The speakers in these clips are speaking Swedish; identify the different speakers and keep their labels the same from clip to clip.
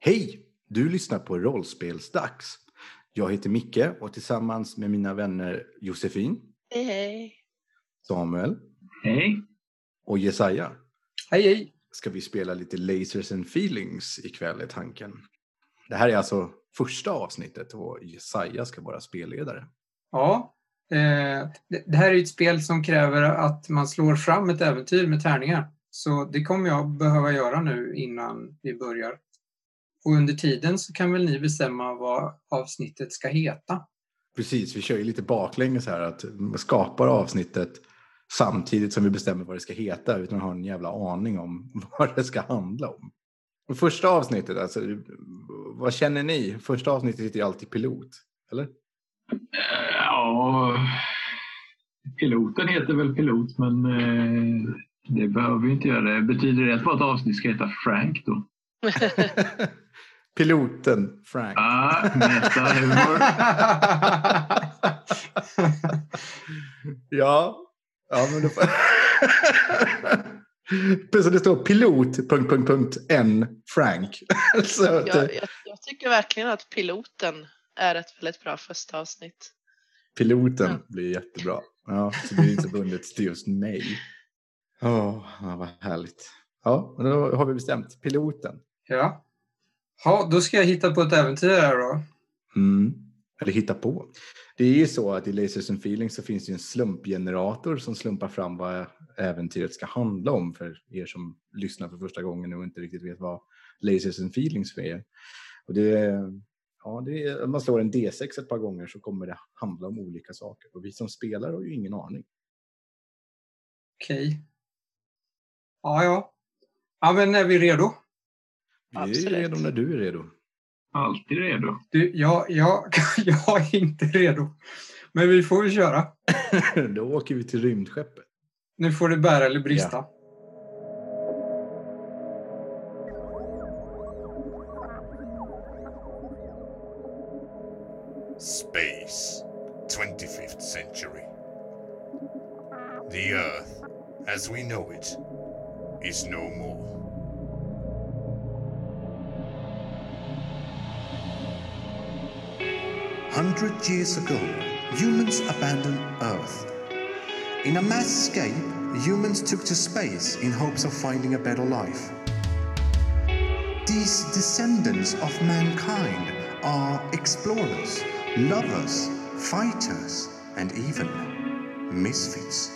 Speaker 1: Hej! Du lyssnar på Rollspelsdags. Jag heter Micke och tillsammans med mina vänner Josefin,
Speaker 2: Hej, hej.
Speaker 1: Samuel
Speaker 3: Hej.
Speaker 1: och Jesaja
Speaker 4: Hej, hej!
Speaker 1: ska vi spela lite Lasers and Feelings ikväll är tanken. Det här är alltså första avsnittet och Jesaja ska vara spelledare.
Speaker 4: Ja, eh, det det här är ju ett spel som kräver att man slår fram ett äventyr med tärningar. Så det kommer jag behöva göra nu innan vi börjar. Och under tiden så kan väl ni bestämma vad avsnittet ska heta.
Speaker 1: Precis, vi kör ju lite baklänges här att man skapar avsnittet samtidigt som vi bestämmer vad det ska heta utan att ha en jävla aning om vad det ska handla om. Och Första avsnittet, alltså, vad känner ni? Första avsnittet heter ju alltid pilot, eller?
Speaker 3: Eh, Ja, piloten heter väl pilot, men eh, det behöver vi inte göra. Betyder det att vårt avsnitt ska heta Frank då?
Speaker 1: Piloten Frank.
Speaker 3: Ah, metahumor.
Speaker 1: Ja. ja men då... får- Precis, det står pilot... Punkt, punkt, punkt, N Frank. Så att, eh,
Speaker 2: Jag, jag, jag tycker verkligen att piloten är ett väldigt bra första avsnitt.
Speaker 1: Piloten
Speaker 2: Ja.
Speaker 1: blir jättebra. Ja, så blir det inte bundet till just mig. Åh, ja, vad härligt. Ja, men då har vi bestämt. Piloten.
Speaker 4: ja. ja, då ska jag hitta på ett äventyr här då.
Speaker 1: Mm. Eller hitta på. Det är ju så att i Lasers and Feelings så finns det ju en slumpgenerator som slumpar fram vad äventyret ska handla om för er som lyssnar för första gången och inte riktigt vet vad Lasers and Feelings är. Och det, är- ja, det är, om man slår en D6 ett par gånger så kommer det handla om olika saker. Och vi som spelar har ju ingen aning.
Speaker 4: Okej. Ja, ja. Ja, men är vi redo?
Speaker 1: Vi är ju
Speaker 2: Absolut.
Speaker 1: redo när du är redo.
Speaker 3: Alltid redo.
Speaker 4: Du, jag, jag, jag är inte redo. Men vi får väl köra.
Speaker 1: Då åker vi till rymdskeppet.
Speaker 4: Nu får det bära eller brista.
Speaker 5: Space, 25th century. The Earth, as we know it, is no more.
Speaker 6: Hundred years ago, humans abandoned Earth. In a mass escape, humans took to space in hopes of finding a better life. These descendants of mankind are explorers, lovers, fighters, and even misfits.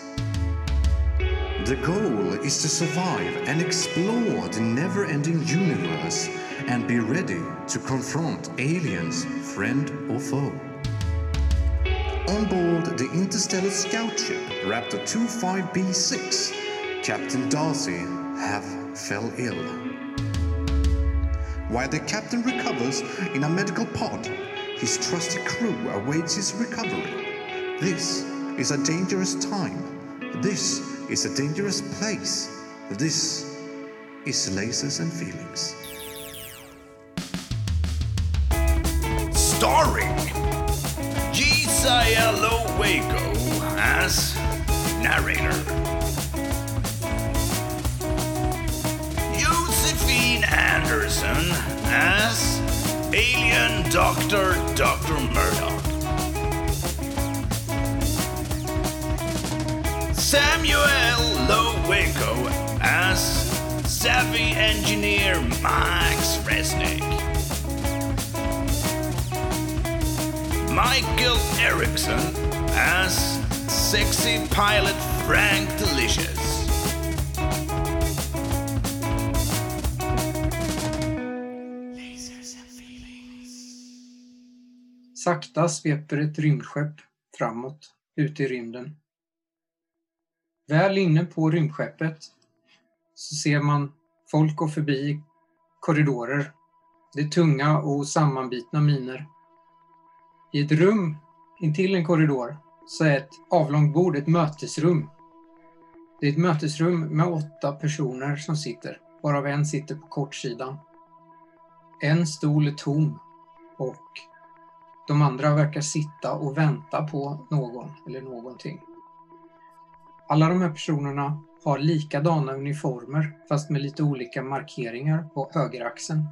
Speaker 6: The goal is to survive and explore the never ending universe and be ready to confront aliens, friend or foe. On board the interstellar scout ship Raptor 25B6, Captain Darcy have fell ill. While the captain recovers in a medical pod, his trusty crew awaits his recovery. This is a dangerous time. This is a dangerous place. This is lasers and feelings.
Speaker 5: Starring Jesiah Lowago as narrator, Josephine Anderson as alien doctor Dr. Murdoch. Samuel Lowico as savvy engineer Max Resnick. Michael Erickson as sexy pilot Frank Delicious.
Speaker 4: Sakta sveper ett rymdskepp framåt, ut i rymden. Väl inne på rymdskeppet så ser man folk gå förbi i korridorer. Det är tunga och sammanbitna miner. I ett rum intill en korridor så är ett avlångt bord ett mötesrum. Det är ett mötesrum med åtta personer som sitter, varav en sitter på kortsidan. En stol är tom och de andra verkar sitta och vänta på någon eller någonting. Alla de här personerna har likadana uniformer fast med lite olika markeringar på högeraxeln.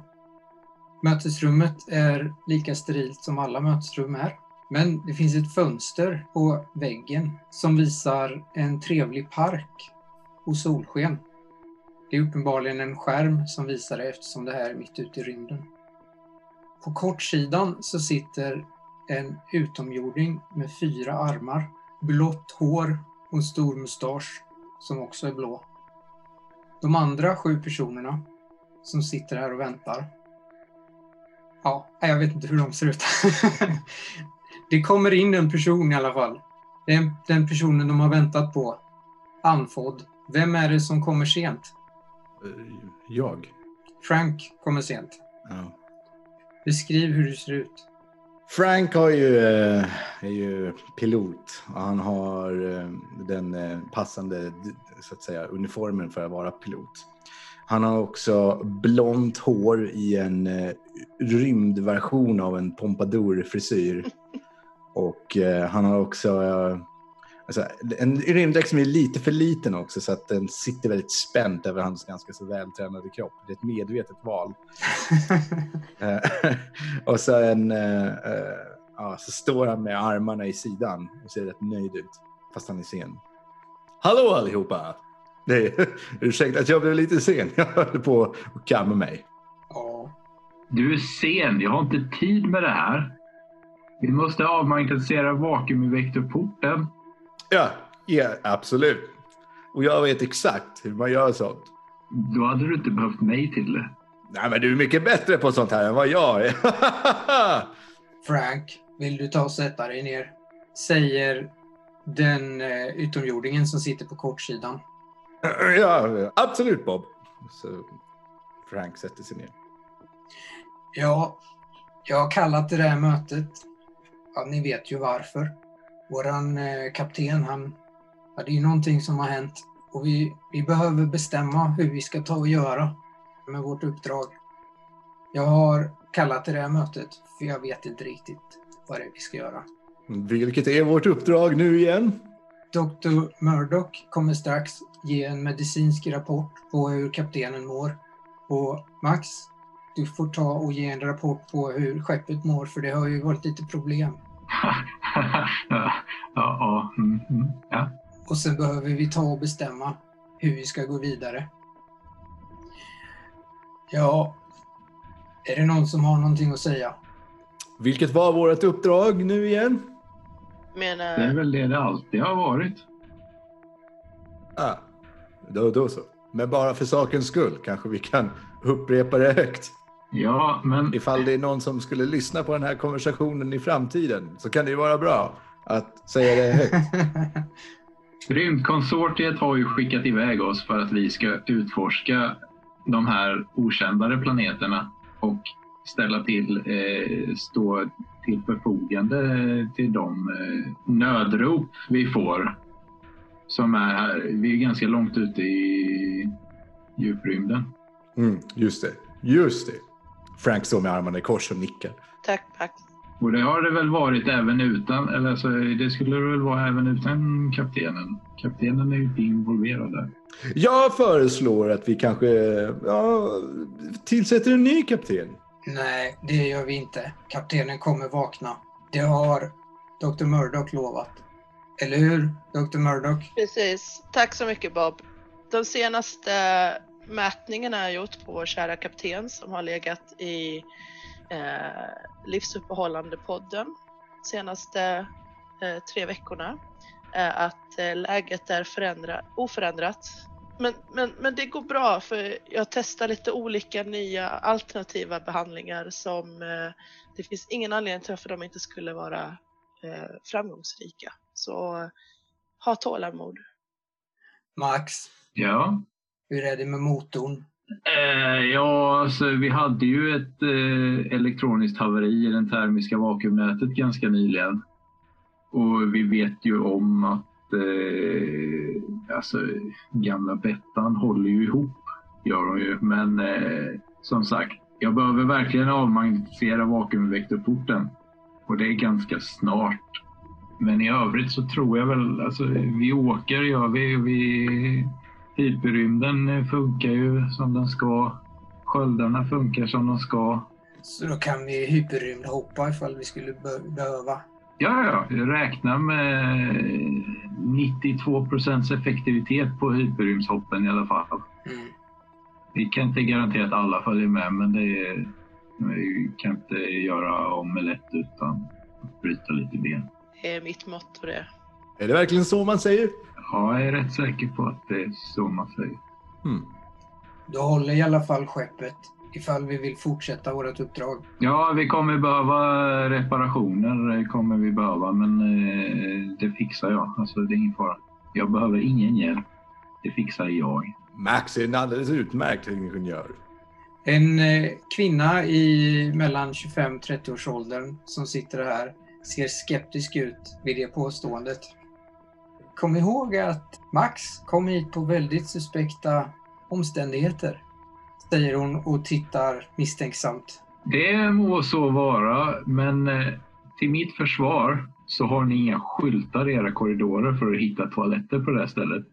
Speaker 4: Mötesrummet är lika sterilt som alla mötesrum är. Men det finns ett fönster på väggen som visar en trevlig park och solsken. Det är uppenbarligen en skärm som visar det eftersom det här är mitt ute i rymden. På kortsidan så sitter en utomjording med fyra armar, blått hår och en stor mustasch som också är blå. De andra sju personerna som sitter här och väntar. Ja, jag vet inte hur de ser ut. det kommer in en person i alla fall. Det är den personen de har väntat på. Anfodd. Vem är det som kommer sent?
Speaker 1: Eh, Jag?
Speaker 4: Frank kommer sent.
Speaker 1: Ja.
Speaker 4: Beskriv hur du ser ut.
Speaker 1: Frank har ju, eh, är ju pilot och han har eh, den eh, passande d- så att säga, uniformen för att vara pilot. Han har också blont hår i en eh, rymdversion av en pompadourfrisyr. Och eh, han har också eh, alltså, en rymddräkt som är lite för liten också så att den sitter väldigt spänt över hans ganska så vältränade kropp. Det är ett medvetet val. Eh, och sen eh, eh, ja, så står han med armarna i sidan och ser rätt nöjd ut, fast han är sen. Hallå allihopa! Nej, ursäkta att jag blev lite sen. Jag höll på att kamma mig.
Speaker 4: ja,
Speaker 3: Du är sen. Jag har inte tid med det här. Vi måste avmagnetisera vakuumvektorporten.
Speaker 1: Ja, ja, absolut. Och jag vet exakt hur man gör sånt.
Speaker 3: Då hade du inte behövt mig till det.
Speaker 1: Nej, men du är mycket bättre på sånt här än vad jag är.
Speaker 4: Frank, vill du ta och sätta dig ner? Säger den eh, utomjordingen som sitter på kortsidan.
Speaker 1: ja, absolut Bob. Så Frank sätter sig ner.
Speaker 4: Ja, jag har kallat det här mötet. Ja, ni vet ju varför. Våran eh, kapten, han... Ja, det är ju någonting som har hänt. Och vi, vi behöver bestämma hur vi ska ta och göra med vårt uppdrag. Jag har kallat det här mötet, för jag vet inte riktigt vad det är vi ska göra.
Speaker 1: Vilket är vårt uppdrag nu igen?
Speaker 4: Dr. Murdoch kommer strax ge en medicinsk rapport på hur kaptenen mår. Och Max, du får ta och ge en rapport på hur skeppet mår för det har ju varit lite problem.
Speaker 3: ja, ja, mm, mm, ja.
Speaker 4: Och sen behöver vi ta och bestämma hur vi ska gå vidare. Ja, är det någon som har någonting att säga?
Speaker 1: Vilket var vårt uppdrag nu igen?
Speaker 3: Det är
Speaker 2: Menar,
Speaker 3: väl det det alltid har varit.
Speaker 1: Ah, då, då så. Men bara för sakens skull kanske vi kan upprepa det högt.
Speaker 3: Ja, men
Speaker 1: Ifall det är någon som skulle lyssna på den här konversationen i framtiden så kan det ju vara bra att säga det högt.
Speaker 3: Rymdkonsortiet har ju skickat iväg oss för att vi ska utforska de här okändare planeterna och ställa till, eh, stå till förfogande till de eh, nödrop vi får. Som är här, vi är ganska långt ute i djuprymden.
Speaker 1: Mm, just det. Just det. Frank står med armarna i kors och nickar.
Speaker 2: tack Max.
Speaker 3: Och det har det väl varit även utan, eller alltså, det skulle det väl vara även utan kaptenen. Kaptenen är ju inte involverad där.
Speaker 1: Jag föreslår att vi kanske ja, tillsätter en ny kapten.
Speaker 4: Nej, det gör vi inte. Kaptenen kommer vakna. Det har Dr. Murdoch lovat. Eller hur, Dr. Murdoch?
Speaker 2: Precis. Tack så mycket Bob. De senaste eh, mätningarna jag gjort på vår kära kapten som har legat i eh, livsuppehållande podden senaste eh, tre veckorna är att eh, läget är förändra, oförändrat. Men, men, men det går bra för jag testar lite olika nya alternativa behandlingar som eh, det finns ingen anledning till varför de inte skulle vara eh, framgångsrika. Så eh, ha tålamod.
Speaker 4: Max,
Speaker 3: Ja,
Speaker 4: Hur är det med motorn?
Speaker 3: Eh, ja, alltså, vi hade ju ett eh, elektroniskt haveri i det termiska vakuumnätet ganska nyligen. Och vi vet ju om att eh, alltså, gamla Bettan håller ju ihop, gör hon ju. Men eh, som sagt, jag behöver verkligen avmagnetisera vakuumvektorporten. Och det är ganska snart. Men i övrigt så tror jag väl, alltså vi åker gör vi. vi eh, Hyperrymden funkar ju som den ska. Sköldarna funkar som de ska.
Speaker 4: Så då kan vi hyperrymdhoppa ifall vi skulle be- behöva.
Speaker 3: Ja, ja, ja. räkna med 92 procents effektivitet på hyperrymdshoppen i alla fall.
Speaker 4: Mm.
Speaker 3: Vi kan inte garantera att alla följer med, men det är, vi kan inte göra omelett utan att bryta lite ben.
Speaker 2: Det är mitt motto det.
Speaker 1: Är det verkligen så man säger?
Speaker 3: Ja, jag är rätt säker på att det är så man säger.
Speaker 1: Hmm.
Speaker 4: Då håller i alla fall skeppet ifall vi vill fortsätta vårt uppdrag.
Speaker 3: Ja, vi kommer behöva reparationer, eh, kommer vi behöva, men eh, det fixar jag. Alltså, det är ingen fara. Jag behöver ingen hjälp. Det fixar jag.
Speaker 1: Max är en alldeles utmärkt ingenjör.
Speaker 4: En eh, kvinna i mellan 25-30 års åldern som sitter här ser skeptisk ut vid det påståendet. Kom ihåg att Max kom hit på väldigt suspekta omständigheter, säger hon och tittar misstänksamt.
Speaker 3: Det må så vara, men eh, till mitt försvar så har ni inga skyltar i era korridorer för att hitta toaletter på det här stället.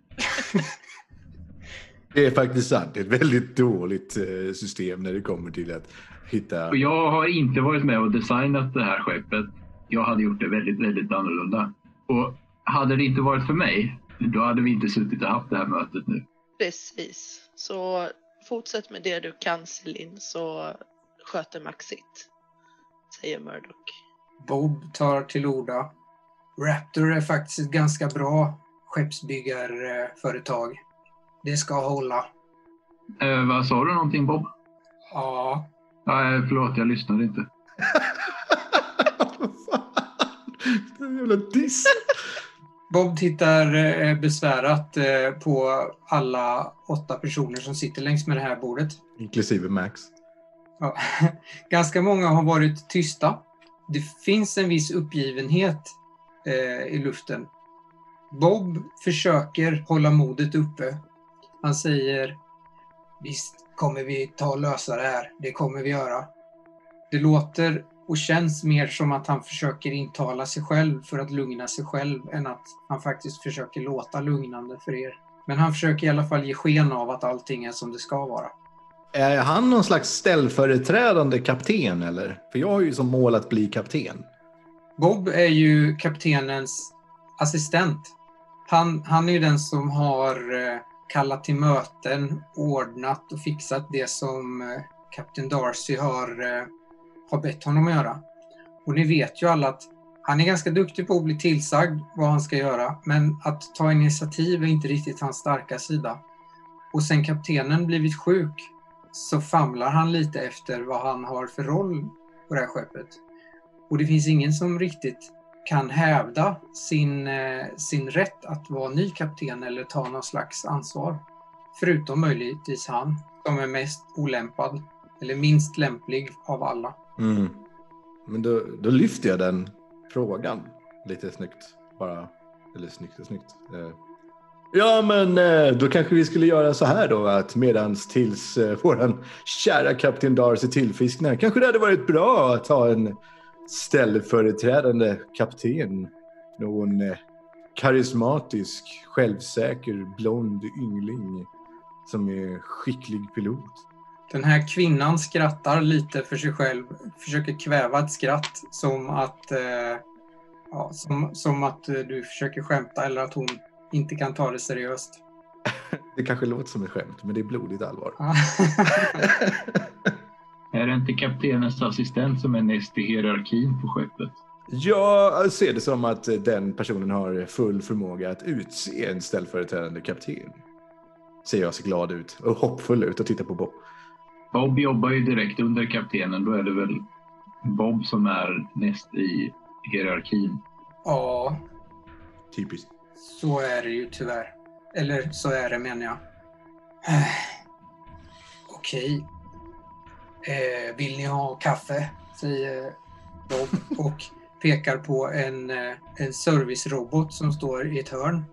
Speaker 1: Det är faktiskt sant. Det är ett väldigt dåligt eh, system när det kommer till att hitta...
Speaker 3: Och jag har inte varit med och designat det här skeppet. Jag hade gjort det väldigt, väldigt annorlunda. Och hade det inte varit för mig, då hade vi inte suttit och haft det här mötet nu.
Speaker 2: Precis. Så fortsätt med det du kan Celine så sköter Max sitt. Säger Murdoch.
Speaker 4: Bob tar till orda. Raptor är faktiskt ett ganska bra skeppsbyggarföretag. Det ska hålla.
Speaker 3: Eh, vad sa du någonting Bob?
Speaker 4: Ja,
Speaker 3: Nej, förlåt, jag lyssnade inte.
Speaker 1: Fan! Jävla diss!
Speaker 4: Bob tittar eh, besvärat eh, på alla åtta personer som sitter längs med det här bordet.
Speaker 1: Inklusive Max.
Speaker 4: Ja. Ganska många har varit tysta. Det finns en viss uppgivenhet eh, i luften. Bob försöker hålla modet uppe. Han säger Visst kommer vi ta och lösa det här. Det kommer vi göra. Det låter och känns mer som att han försöker intala sig själv för att lugna sig själv än att han faktiskt försöker låta lugnande för er. Men han försöker i alla fall ge sken av att allting är som det ska vara.
Speaker 1: Är han någon slags ställföreträdande kapten eller? För jag har ju som mål att bli kapten.
Speaker 4: Bob är ju kaptenens assistent. Han, han är ju den som har eh, kallat till möten, ordnat och fixat det som eh, kapten Darcy har, eh, har bett honom att göra. Och ni vet ju alla att han är ganska duktig på att bli tillsagd vad han ska göra, men att ta initiativ är inte riktigt hans starka sida. Och sen kaptenen blivit sjuk så famlar han lite efter vad han har för roll på det här skeppet. Och det finns ingen som riktigt kan hävda sin, eh, sin rätt att vara ny kapten eller ta någon slags ansvar. Förutom möjligtvis han, som är mest olämpad, eller minst lämplig av alla.
Speaker 1: Mm. Men då, då lyfter jag den frågan lite snyggt. Bara, eller snyggt och snyggt. Eh. Ja, men eh, då kanske vi skulle göra så här då att medans tills eh, våran kära kapten Darcy tillfisknar kanske det hade varit bra att ha en ställföreträdande kapten. Någon eh, karismatisk, självsäker, blond yngling som är skicklig pilot.
Speaker 4: Den här kvinnan skrattar lite för sig själv, försöker kväva ett skratt som att, eh, ja, som, som att eh, du försöker skämta eller att hon inte kan ta det seriöst.
Speaker 1: Det kanske låter som ett skämt, men det är blodigt allvar.
Speaker 3: Är det inte kaptenens assistent som är näst i hierarkin på skeppet?
Speaker 1: Jag ser det som att den personen har full förmåga att utse en ställföreträdande kapten. Ser jag så glad ut och hoppfull ut och tittar på Bob.
Speaker 3: Bob jobbar ju direkt under kaptenen. Då är det väl Bob som är näst i hierarkin.
Speaker 4: ja,
Speaker 1: Typiskt.
Speaker 4: Så är det ju tyvärr. Eller så är det menar jag. Okej. Eh, vill ni ha kaffe? Säger Bob och pekar på en, eh, en servicerobot som står i ett hörn.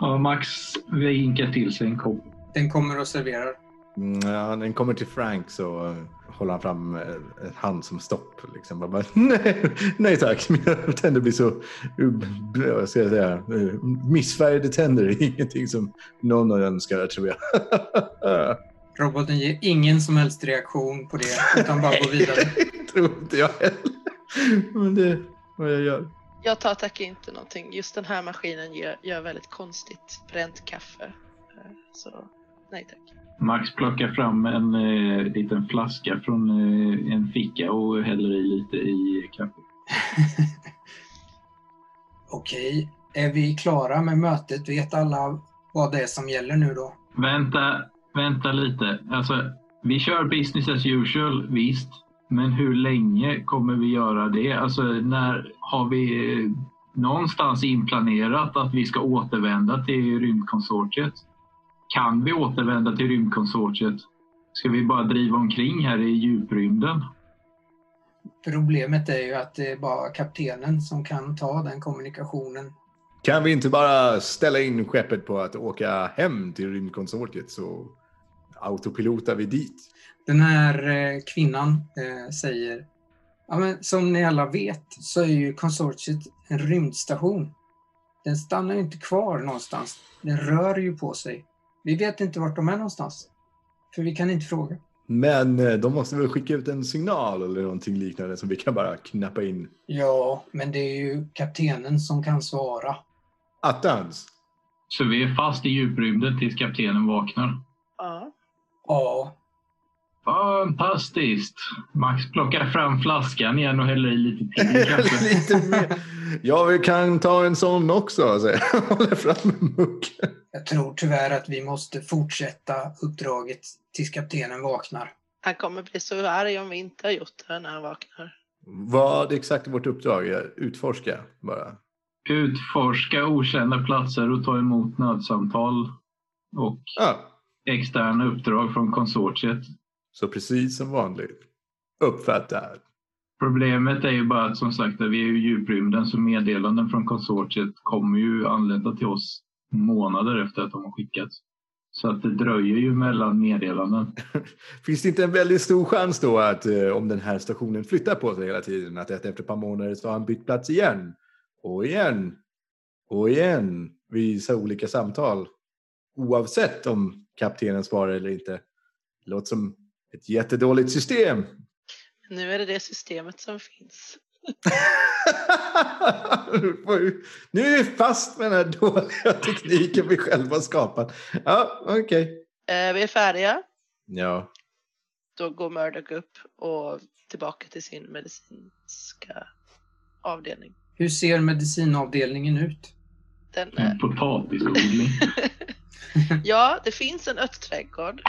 Speaker 3: Ja, Max vinkar till sig en kopp.
Speaker 4: Den kommer och serverar.
Speaker 1: Mm, ja, när den kommer till Frank så eh, håller han fram eh, en hand som stopp. Liksom. Jag Bara, nej, nej tack, mina tänder blir så eh, vad ska jag säga, eh, missfärgade tänder. är Ingenting som någon önskar tror jag.
Speaker 4: Roboten ger ingen som helst reaktion på det, utan bara går vidare.
Speaker 1: tror inte jag heller. Men det är vad jag gör.
Speaker 2: Jag tar tack inte någonting. Just den här maskinen gör, gör väldigt konstigt bränt kaffe. Eh, Så nej tack.
Speaker 3: Max plockar fram en eh, liten flaska från eh, en ficka och häller i lite i kaffet.
Speaker 4: Okej, är vi klara med mötet? Vet alla vad det är som gäller nu då?
Speaker 3: Vänta, vänta lite. Alltså, vi kör business as usual, visst. Men hur länge kommer vi göra det? Alltså, när har vi eh, någonstans inplanerat att vi ska återvända till rymdkonsortiet? Kan vi återvända till rymdkonsortiet? Ska vi bara driva omkring här i djuprymden?
Speaker 4: Problemet är ju att det är bara kaptenen som kan ta den kommunikationen.
Speaker 1: Kan vi inte bara ställa in skeppet på att åka hem till rymdkonsortiet så autopilotar vi dit?
Speaker 4: Den här eh, kvinnan eh, säger, ja, men som ni alla vet så är ju konsortiet en rymdstation. Den stannar ju inte kvar någonstans. Den rör ju på sig. Vi vet inte vart de är någonstans. För vi kan inte fråga.
Speaker 1: Men eh, de måste väl skicka ut en signal eller någonting liknande som vi kan bara knappa in.
Speaker 4: Ja, men det är ju kaptenen som kan svara.
Speaker 1: Attans!
Speaker 3: Så vi är fast i djuprymden tills kaptenen vaknar.
Speaker 2: Ja.
Speaker 4: Ja,
Speaker 3: Fantastiskt! Max plockar fram flaskan igen och häller i lite till i kaffet.
Speaker 1: Lite mer. Ja, vi kan ta en sån också, säger jag. Håller fram en mugg.
Speaker 4: jag tror tyvärr att vi måste fortsätta uppdraget tills kaptenen vaknar.
Speaker 2: Han kommer bli så arg om vi inte har gjort det när han vaknar.
Speaker 1: Vad exakt är vårt uppdrag? Utforska bara.
Speaker 3: Utforska okända platser och ta emot nödsamtal och
Speaker 1: Ja,
Speaker 3: externa uppdrag från konsortiet.
Speaker 1: så precis som vanligt. Uppfattar.
Speaker 3: Problemet är ju bara att som sagt, vi är ju i djuprymden så meddelanden från konsortiet kommer ju anlända till oss månader efter att de har skickats. Så att det dröjer ju mellan meddelanden.
Speaker 1: Finns det inte en väldigt stor chans då att eh, om den här stationen flyttar på sig hela tiden, att efter ett par månader så har han bytt plats igen? Och igen. Och igen. Vid så olika samtal. Oavsett om kaptenen svarar eller inte. Låter som ett jättedåligt system.
Speaker 2: Nu är det det systemet som finns.
Speaker 1: Nu får vi- nu är vi fast med den här dåliga tekniken vi själva har skapat. Ja, okej.
Speaker 2: Eh, vi är färdiga.
Speaker 1: Ja,
Speaker 2: Då går Murdoch upp och tillbaka till sin medicinska avdelning.
Speaker 4: Hur ser medicinavdelningen ut?
Speaker 2: Den, eh,
Speaker 3: En potatisodling.
Speaker 2: ja, det finns en örtträdgård.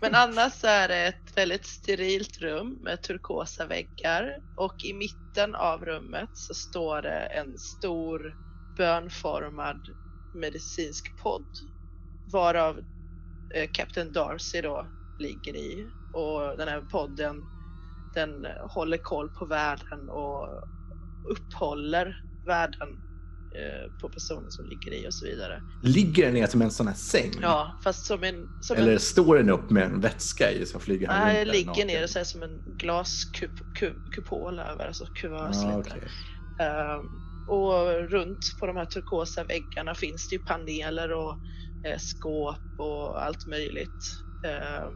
Speaker 2: Men annars så är det ett väldigt sterilt rum med turkosa väggar och i mitten av rummet så står det en stor bönformad medicinsk podd varav eh, Captain Darcy då ligger i och den här podden den håller koll på världen och upphåller världen eh, på personen som ligger i och så vidare.
Speaker 1: Ligger den ner som en sån här säng?
Speaker 2: Ja, fast som en... Som
Speaker 1: Mm. Eller
Speaker 2: en,
Speaker 1: står den upp med en vätska i så flyger han
Speaker 2: nej,
Speaker 1: runt där
Speaker 2: ligger
Speaker 1: naken?
Speaker 2: ner och så här som en glaskupol över, alltså kuvös
Speaker 1: ah,
Speaker 2: lite.
Speaker 1: okej.
Speaker 2: Ehm, och runt på de här turkosa väggarna finns det ju paneler och eh, skåp och allt möjligt eh,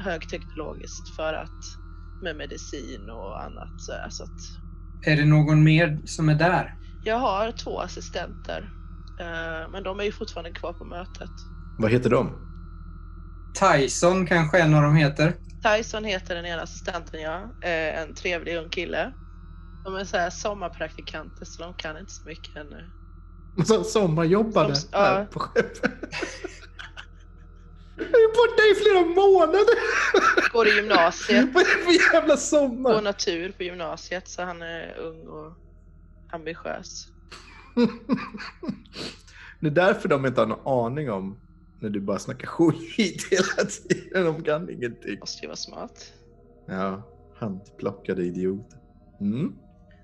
Speaker 2: högteknologiskt för att med medicin och annat. Så, här, så att
Speaker 4: Är det någon mer som är där?
Speaker 2: jag har två assistenter, eh, men de är ju fortfarande kvar på mötet.
Speaker 1: Vad heter de?
Speaker 4: Tyson kanske en av dem heter.
Speaker 2: Tyson heter den ena assistenten ja. Eh, En trevlig ung kille. De är så här sommarpraktikanter så de kan inte så mycket ännu.
Speaker 1: Som sommarjobbade
Speaker 2: Som- ja.
Speaker 1: här på skeppet. Jag är borta i flera månader!
Speaker 2: Går i gymnasiet,
Speaker 1: Vad är det för jävla sommar?
Speaker 2: går natur på gymnasiet så han är ung och ambitiös.
Speaker 1: Det är därför de inte har någon aning om när du bara snackar skit hela tiden. De kan ingenting.
Speaker 2: Måste ju vara smart.
Speaker 1: Ja, handplockade idiot. Mm.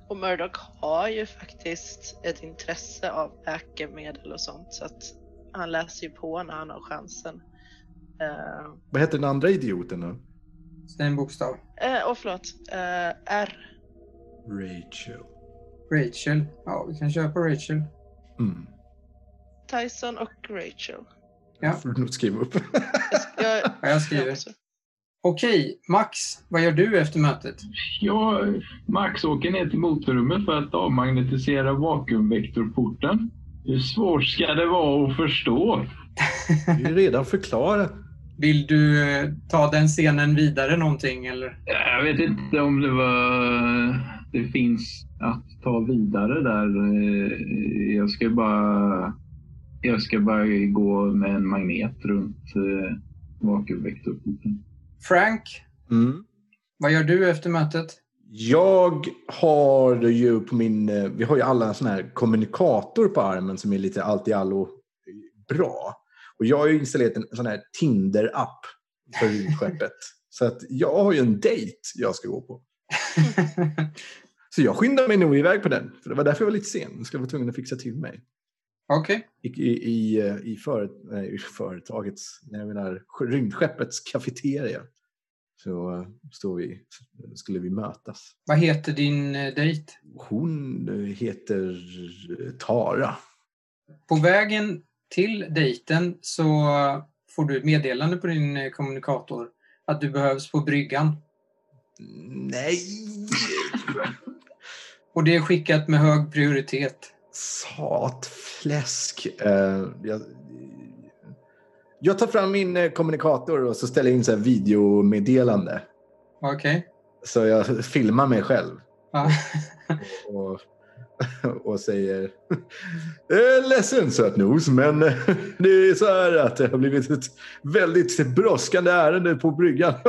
Speaker 2: Och Murdoch har ju faktiskt ett intresse av läkemedel och sånt så att han läser ju på när han har chansen. Eh,
Speaker 1: Vad heter den andra idioten då?
Speaker 4: Säg en bokstav.
Speaker 2: Eh, och förlåt, eh, R.
Speaker 1: Rachel.
Speaker 4: Rachel. Ja, vi kan köra på Rachel.
Speaker 1: Mm.
Speaker 2: Tyson och Rachel.
Speaker 4: Ja.
Speaker 1: får du nog skriva upp.
Speaker 2: Jag,
Speaker 4: Ja, jag skriver. Okej, Max, vad gör du efter mötet?
Speaker 3: Ja, Max åker ner till motorrummet för att avmagnetisera vakuumvektorporten. Hur svårt ska det vara att förstå?
Speaker 1: Det är ju redan förklarat.
Speaker 4: Vill du eh, ta den scenen vidare någonting eller?
Speaker 3: Jag vet inte om det var... Det finns att ta vidare där. Eh, Jag ska bara... Jag ska bara gå med en magnet runt eh, vakuumvektorporten.
Speaker 4: Frank, vad gör du efter mötet?
Speaker 1: Jag har ju på min... eh, Vi har ju alla en sån här kommunikator på armen som är lite allt i allo bra. Och jag har ju installerat en sån här Tinder-app för rymdskeppet. Så att jag har ju en dejt jag ska gå på. Så jag skyndar mig nog iväg på den. För det var därför jag var lite sen. Jag skulle vara tvungen att fixa till mig.
Speaker 4: Okej,
Speaker 1: I, i, i, eh, i, före, nej, i företagets, nej, jag menar rymdskeppets kafeteria. Så eh, stod vi, skulle vi mötas.
Speaker 4: vad heter din eh, dejt?
Speaker 1: Hon eh, heter eh, Tara.
Speaker 4: På vägen till dejten så får du ett meddelande på din eh, kommunikator att du behövs på bryggan.
Speaker 1: Nej!
Speaker 4: Och det är skickat med hög prioritet.
Speaker 1: Satfläsk. Eh, jag, jag tar fram min eh, kommunikator och så ställer jag in så här videomeddelande.
Speaker 4: Okej.
Speaker 1: Så jag filmar mig själv.
Speaker 4: Ja.
Speaker 1: och, och säger "Jag är ledsen sötnos, men eh, det är så här att det har blivit ett väldigt brådskande ärende på bryggan.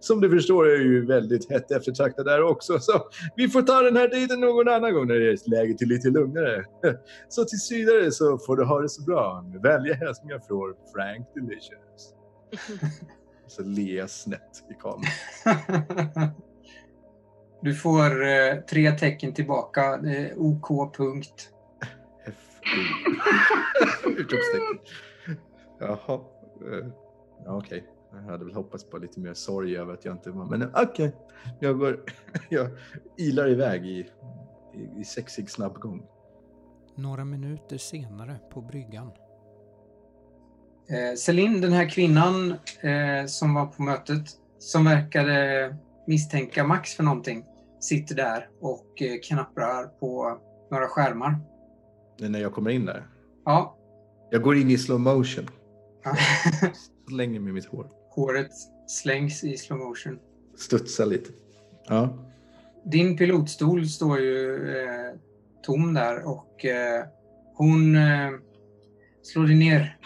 Speaker 1: Som du förstår är jag ju väldigt hett eftertraktad där också. Så vi får ta den här dejten någon annan gång när det är läget är lite lugnare. Så tills vidare så får du ha det så bra. Med vänliga hälsningar från Frank Delicious. Så ler jag snett i kameran.
Speaker 4: Du får eh, tre tecken tillbaka. Eh, OK. Punkt.
Speaker 1: FB. Utropstecken. Jaha. eh, Ja, okej. Jag hade väl hoppats på lite mer sorg över att jag inte var... Men okej. Jag går... Jag ilar iväg i, i, i sexig snabbgång.
Speaker 7: Några minuter senare på bryggan.
Speaker 4: Eh, Celine, den här kvinnan eh, som var på mötet, som verkade misstänka Max för någonting, sitter där och eh, knapprar på några skärmar.
Speaker 1: Det är När jag kommer in där.
Speaker 4: Ja.
Speaker 1: Jag går in i slow motion. Slänger med mitt hår.
Speaker 4: Håret slängs i slow motion.
Speaker 1: Studsar lite. Ja.
Speaker 4: Din pilotstol står ju eh, tom där och eh, hon eh, slår dig ner.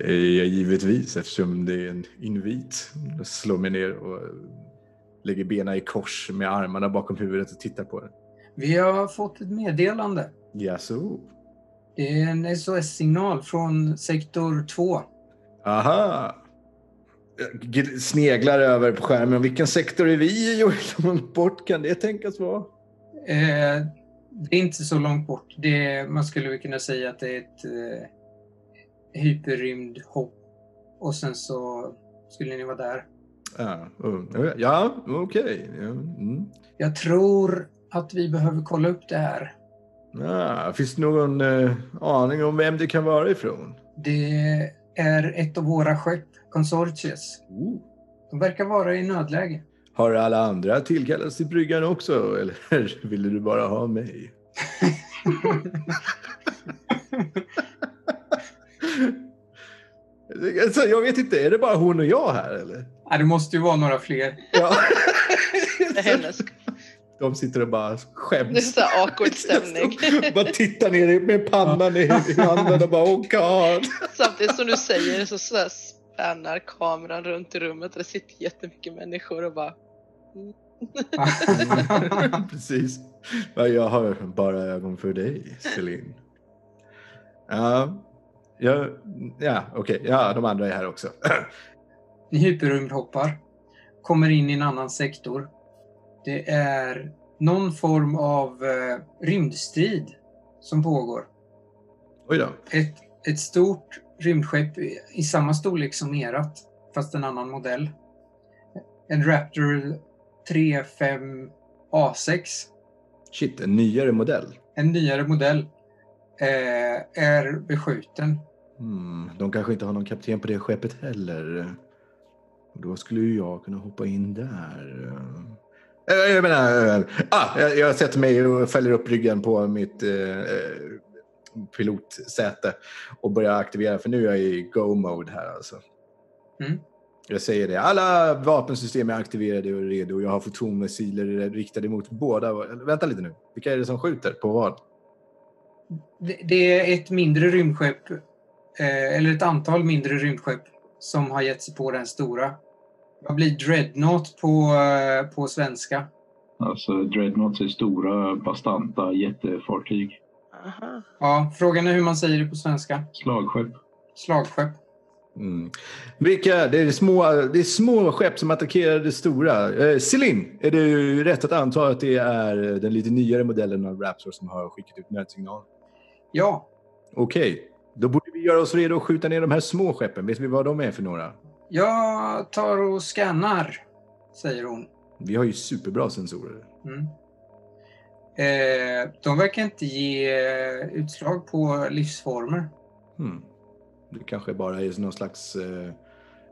Speaker 1: Eh, ja, givetvis eftersom det är en invit. Jag slår mig ner och lägger benen i kors med armarna bakom huvudet och tittar på den.
Speaker 4: Vi har fått ett meddelande.
Speaker 1: Jaså?
Speaker 4: Det är en SOS-signal från sektor 2.
Speaker 1: Aha! Jag Sneglar över på skärmen. Vilken sektor är vi i och hur långt bort kan det tänkas vara?
Speaker 4: Eh, det är inte så långt bort. Det är, man skulle väl kunna säga att det är ett eh, hyperrymdhopp. Och sen så skulle ni vara där.
Speaker 1: Ja, mm, ja okej. Ja, mm.
Speaker 4: Jag tror att vi behöver kolla upp det här.
Speaker 1: Ja, Ah, finns det någon eh, aning om vem det kan vara ifrån?
Speaker 4: Det är ett av våra skepp, Consortius.
Speaker 1: Oh.
Speaker 4: De verkar vara i nödläge.
Speaker 1: Har alla andra tillkallats till bryggan också eller ville du bara ha mig? Alltså, jag vet inte, är det bara hon och jag här eller?
Speaker 4: Ja, det måste ju vara några fler.
Speaker 1: Ja.
Speaker 2: Det är hennes.
Speaker 1: De sitter och bara
Speaker 2: Det är
Speaker 1: skäms.
Speaker 2: så här awkward stämning.
Speaker 1: bara tittar ner med pannan i, i handen och bara oh god.
Speaker 2: Samtidigt som du säger så, så här spännar kameran runt i rummet och det sitter jättemycket människor och bara
Speaker 1: Precis. Men jag har bara ögon för dig, Celine. Ja, ja, ja okej. Ja, de andra är här också.
Speaker 4: Ni hyperrymdhoppar. Kommer in i en annan sektor. Det är någon form av eh, rymdstrid som pågår.
Speaker 1: Oj då.
Speaker 4: Ett, ett stort rymdskepp i, i samma storlek som erat, fast en annan modell. En Raptor 35 A6
Speaker 1: Shit, en nyare modell.
Speaker 4: en nyare modell eh, är beskjuten
Speaker 1: Hmm, de kanske inte har någon kapten på det skeppet heller. Och Då skulle ju jag kunna hoppa in där. Eh, Jag menar, eh, ah, jag, jag sätter mig och fäller upp ryggen på mitt eh, eh, pilotsäte och börjar aktivera, för nu är jag i go-mode här alltså.
Speaker 4: Mm.
Speaker 1: Jag säger det, alla vapensystem är aktiverade och redo. Jag har fotonmissiler riktade mot båda. Vänta lite nu, vilka är det som skjuter på vad?
Speaker 4: Det, det är ett mindre rymdskepp, eh, eller ett antal mindre rymdskepp, som har gett sig på den stora. Vad blir Dreadnought på, eh, på svenska?
Speaker 3: Alltså Dreadnoughts är stora, bastanta jättefartyg.
Speaker 2: Aha.
Speaker 4: Ja, frågan är hur man säger det på svenska.
Speaker 3: Slagskepp.
Speaker 4: Slagskepp.
Speaker 1: Mm. Vilka? Det är, små, det är små skepp som attackerar det stora. Eh, Celine, är det ju rätt att anta att det är den lite nyare modellen av Raptor som har skickat ut nödsignal?
Speaker 4: Ja,
Speaker 1: Okej, då borde vi göra oss redo att skjuta ner de här små skeppen. Vet vi vad de är för några?
Speaker 4: jag tar och scannar, säger hon.
Speaker 1: Vi har ju superbra sensorer.
Speaker 4: Mm. Eh, de verkar inte ge eh, utslag på livsformer.
Speaker 1: Hmm. Det kanske bara är någon slags eh,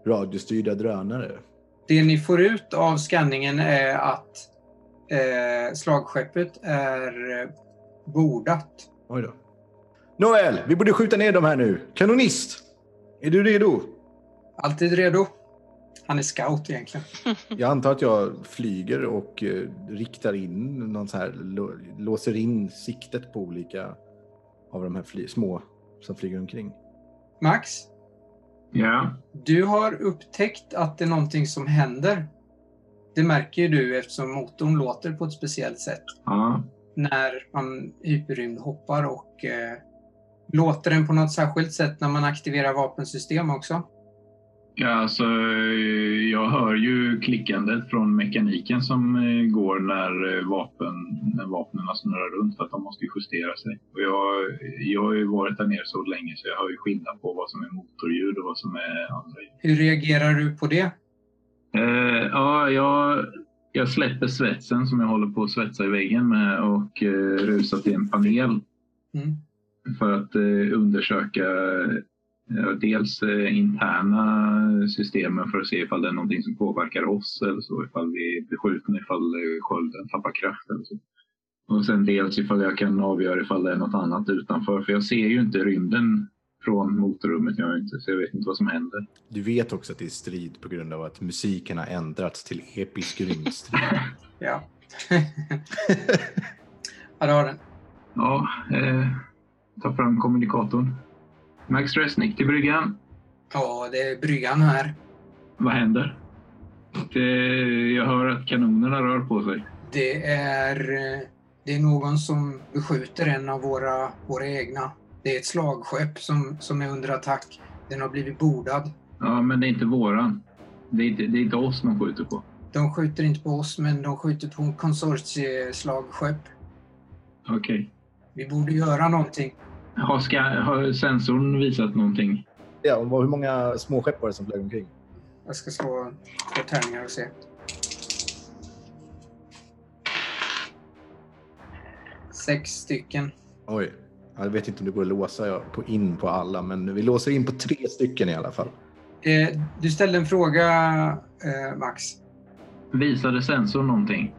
Speaker 1: radiostyrda drönare.
Speaker 4: Det ni får ut av skanningen är att eh, slagskeppet är eh, bordat.
Speaker 1: Oj då. Nåväl, vi borde skjuta ner dem här nu. Kanonist! Är du redo?
Speaker 4: Alltid redo. Han är scout egentligen.
Speaker 1: Jag antar att jag flyger och eh, riktar in någon så här, lå- låser in siktet på olika av de här fly- små som flyger omkring.
Speaker 4: Max,
Speaker 3: Ja,
Speaker 4: du har upptäckt att det är någonting som händer. Det märker ju du eftersom motorn låter på ett speciellt sätt
Speaker 3: ja.
Speaker 4: när man hyperrymdhoppar och eh, låter den på något särskilt sätt när man aktiverar vapensystem också.
Speaker 3: ja alltså, eh, jag hör ju klickandet från mekaniken som eh, går när, eh, vapen, när vapnen snurrar runt för att de måste ju justera sig. Och jag, jag har ju varit där nere så länge så jag hör ju skillnad på vad som är motorljud och vad som är andra ljud.
Speaker 4: Hur reagerar du på det?
Speaker 3: Eh, ja, jag, jag släpper svetsen som jag håller på att svetsa i väggen med och eh, rusar till en panel
Speaker 4: Mm.
Speaker 3: för att eh, undersöka eh, dels eh, interna systemen för att se ifall det är någonting som påverkar oss eller så, ifall vi blir skjutna, ifall eh, skölden tappar kraft eller så. Och sen dels ifall jag kan avgöra ifall det är något annat utanför, för jag ser ju inte rymden från motorrummet, jag inte, så jag vet inte vad som händer.
Speaker 1: Du vet också att det är strid på grund av att musiken har ändrats till episk rymdstrid.
Speaker 4: Ja. ja, du har den.
Speaker 3: Ja, eh, ta fram kommunikatorn. Max Resnick till bryggan.
Speaker 4: Ja, det är bryggan här.
Speaker 3: Vad händer? Det, jag hör att kanonerna rör på sig.
Speaker 4: Det är, eh, det är någon som beskjuter en av våra, våra egna. Det är ett slagskepp som, som är under attack. Den har blivit bordad.
Speaker 3: Ja, men det är inte våran. Det är inte, det är inte oss de skjuter på.
Speaker 4: De skjuter inte på oss, men de skjuter på konsortieslagskepp.
Speaker 3: Okej.
Speaker 4: Vi borde göra någonting.
Speaker 3: Har, ska, har sensorn visat någonting?
Speaker 1: ja, och vad- hur många småskepp var det som flög omkring?
Speaker 4: Jag ska slå två tärningar och se. Sex stycken.
Speaker 1: Oj, jag vet inte om det går att låsa ja, på in på alla, men vi låser in på tre stycken i alla fall.
Speaker 4: Eh, du ställde en fråga, eh, Max.
Speaker 3: Visade sensorn någonting?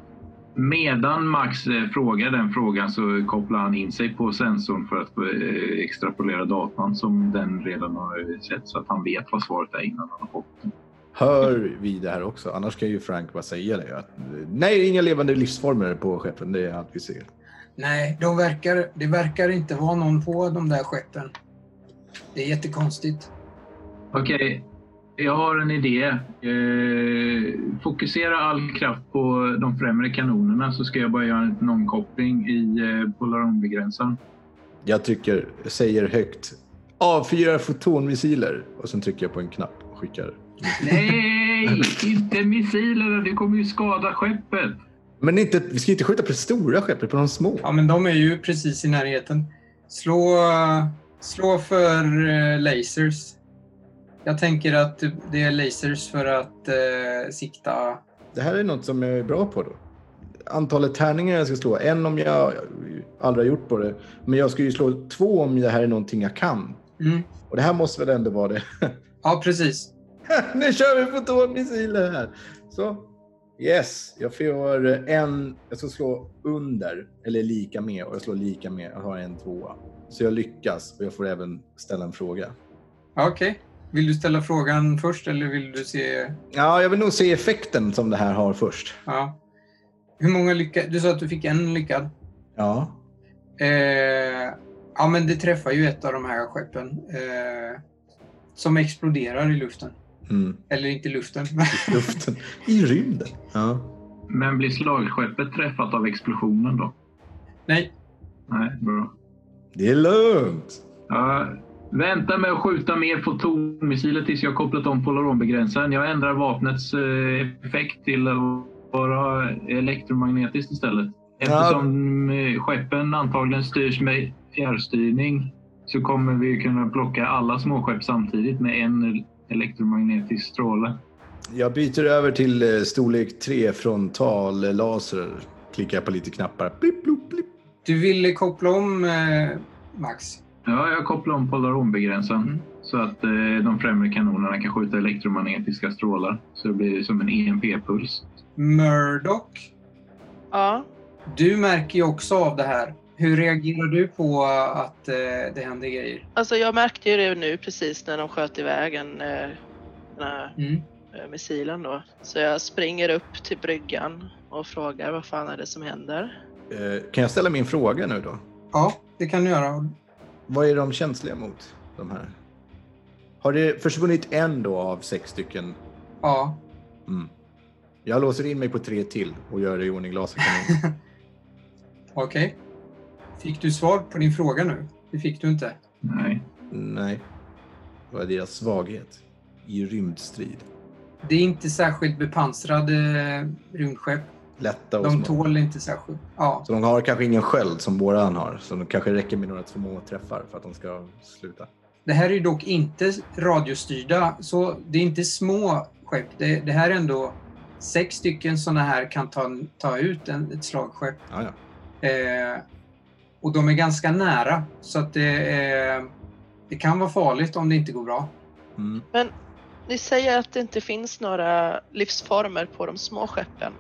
Speaker 3: Medan Max eh, frågar den frågan så kopplar han in sig på sensorn för att eh, extrapolera datan som den redan har eh, sett så att han vet vad svaret är innan han har fått den.
Speaker 1: Hör vi det här också? Annars kan ju Frank bara säga det. Att, nej, inga levande livsformer på skeppen. Det är allt vi ser.
Speaker 4: Nej, de verkar, det verkar inte vara någon på de där skeppen. Det är jättekonstigt.
Speaker 3: Okej, jag har en idé. Eh, fokusera all kraft på de främre kanonerna så ska jag bara göra en omkoppling i eh, polaronbegränsaren.
Speaker 1: Jag trycker, säger högt, avfyrar fotonmissiler. Och sen trycker jag på en knapp och skickar.
Speaker 3: Nej, inte missilerna! Du kommer ju skada skeppet.
Speaker 1: Men inte, vi ska inte skjuta på det stora skeppet, på de små.
Speaker 4: Ja, men de är ju precis i närheten. Slå, slå för eh, lasers. Jag tänker att det är lasers för att eh, sikta.
Speaker 1: Det här är något som jag är bra på då. Antalet tärningar jag ska slå, en om jag aldrig har gjort på det. Men jag ska ju slå två om det här är någonting jag kan.
Speaker 4: Mm.
Speaker 1: Och det här måste väl ändå vara det.
Speaker 4: Ja, precis.
Speaker 1: nu kör vi på två missiler här. Så. Yes, jag får en. Jag ska slå under eller lika med och jag slår lika med. Jag har en tvåa. Så jag lyckas och jag får även ställa en fråga.
Speaker 4: Ja, Okej. Vill du ställa frågan först eller vill du se...
Speaker 1: Ja, jag vill nog se effekten som det här har först.
Speaker 4: Ja. Hur många lyckade... Du sa att du fick en lyckad.
Speaker 1: Ja,
Speaker 4: Eh, ja, men det träffar ju ett av de här skeppen. Eh, som exploderar i luften.
Speaker 1: mm.
Speaker 4: Eller inte i luften.
Speaker 1: luften i rymden. Ja.
Speaker 3: Men blir slagskeppet träffat av explosionen då?
Speaker 4: Nej.
Speaker 3: Nej, bra.
Speaker 1: Det är lugnt.
Speaker 3: Ja, vänta med att skjuta mer fotonmissiler tills jag kopplat om polaronbegränsaren. Jag ändrar vapnets eh, effekt till att vara elektromagnetiskt istället. Eftersom eh, skeppen antagligen styrs med fjärrstyrning så kommer vi kunna plocka alla småskepp samtidigt med en elektromagnetisk stråle.
Speaker 1: Jag byter över till eh, storlek 3 frontal eh, laser. Klickar jag på lite knappar. Blip, blop, blip.
Speaker 4: Du ville koppla om eh, Max.
Speaker 3: Ja, jag kopplar om polaronbegränsaren
Speaker 4: Mm.
Speaker 3: så att eh, de främre kanonerna kan skjuta elektromagnetiska strålar. Så det blir som en E EMP-puls.
Speaker 4: Murdoch.
Speaker 2: Ja.
Speaker 4: Du märker ju också av det här. Hur reagerar du på att eh, det händer grejer?
Speaker 2: Alltså jag märkte ju det nu precis när de sköt iväg en, eh, den här
Speaker 4: Mm.
Speaker 2: eh, missilen då. Så jag springer upp till bryggan och frågar vad fan är det som händer?
Speaker 1: Eh, Kan jag ställa min fråga nu då?
Speaker 4: Ja, det kan du göra.
Speaker 1: Vad är de känsliga mot? De här? Har det försvunnit en då av sex stycken?
Speaker 4: Ja.
Speaker 1: Mm. Jag låser in mig på tre till och gör i ordning laserkanonen.
Speaker 4: Okej. Fick du svar på din fråga nu? Det fick du inte.
Speaker 3: Nej.
Speaker 1: Nej. Vad är deras svaghet? I rymdstrid.
Speaker 4: Det är inte särskilt bepansrade eh, rymdskepp.
Speaker 1: Lätta och
Speaker 4: De
Speaker 1: små.
Speaker 4: tål inte särskilt. Ja,
Speaker 1: Så de har kanske ingen sköld som våran har, så det kanske räcker med några små träffar för att de ska sluta.
Speaker 4: det här är ju dock inte radiostyrda, så det är inte små skepp. Det, det här är ändå sex stycken sådana här kan ta, ta ut en, ett slagskepp.
Speaker 1: Ja, ja.
Speaker 4: Eh, och de är ganska nära, så att det, eh, det kan vara farligt om det inte går bra.
Speaker 1: Mm.
Speaker 2: Ni säger att det inte finns några livsformer på de små skeppen.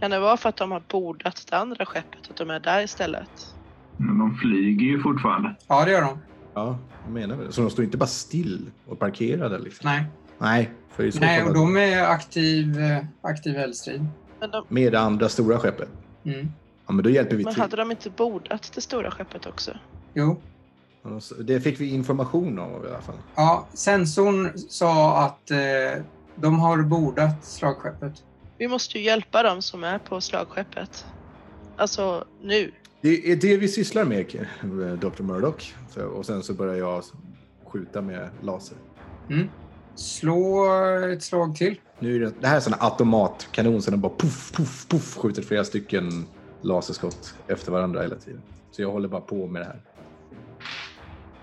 Speaker 2: Kan det vara för att de har bordat det andra skeppet, att de är där istället?
Speaker 3: Men de flyger ju fortfarande.
Speaker 4: Ja, det gör de.
Speaker 1: ja jag menar väl. Så de står inte bara still och parkerade? Liksom.
Speaker 4: Nej,
Speaker 1: Nej, för i så
Speaker 4: Nej
Speaker 1: fall-
Speaker 4: och de är aktiv, eh, aktiv eldstrid.
Speaker 2: Men, de,
Speaker 1: med det andra stora skeppet.
Speaker 4: Mm.
Speaker 1: Ja, men då hjälper vi
Speaker 2: men
Speaker 1: till.
Speaker 2: hade de inte bordat det stora skeppet också?
Speaker 4: Jo.
Speaker 1: Ja, så Det fick vi information om i alla fall.
Speaker 4: Ja, sensorn sa att eh, de har bordat slagskeppet.
Speaker 2: Vi måste ju hjälpa dem som är på slagskeppet. Alltså nu.
Speaker 1: Det är det vi sysslar med, Dr. Murdoch. Så- Och sen så börjar jag skjuta med laser.
Speaker 4: Slå ett slag till.
Speaker 1: Nu är det, det här är sån här automatkanon, så den bara puff, puff, puff skjuter flera stycken laserskott efter varandra hela tiden. Så jag håller bara på med det här.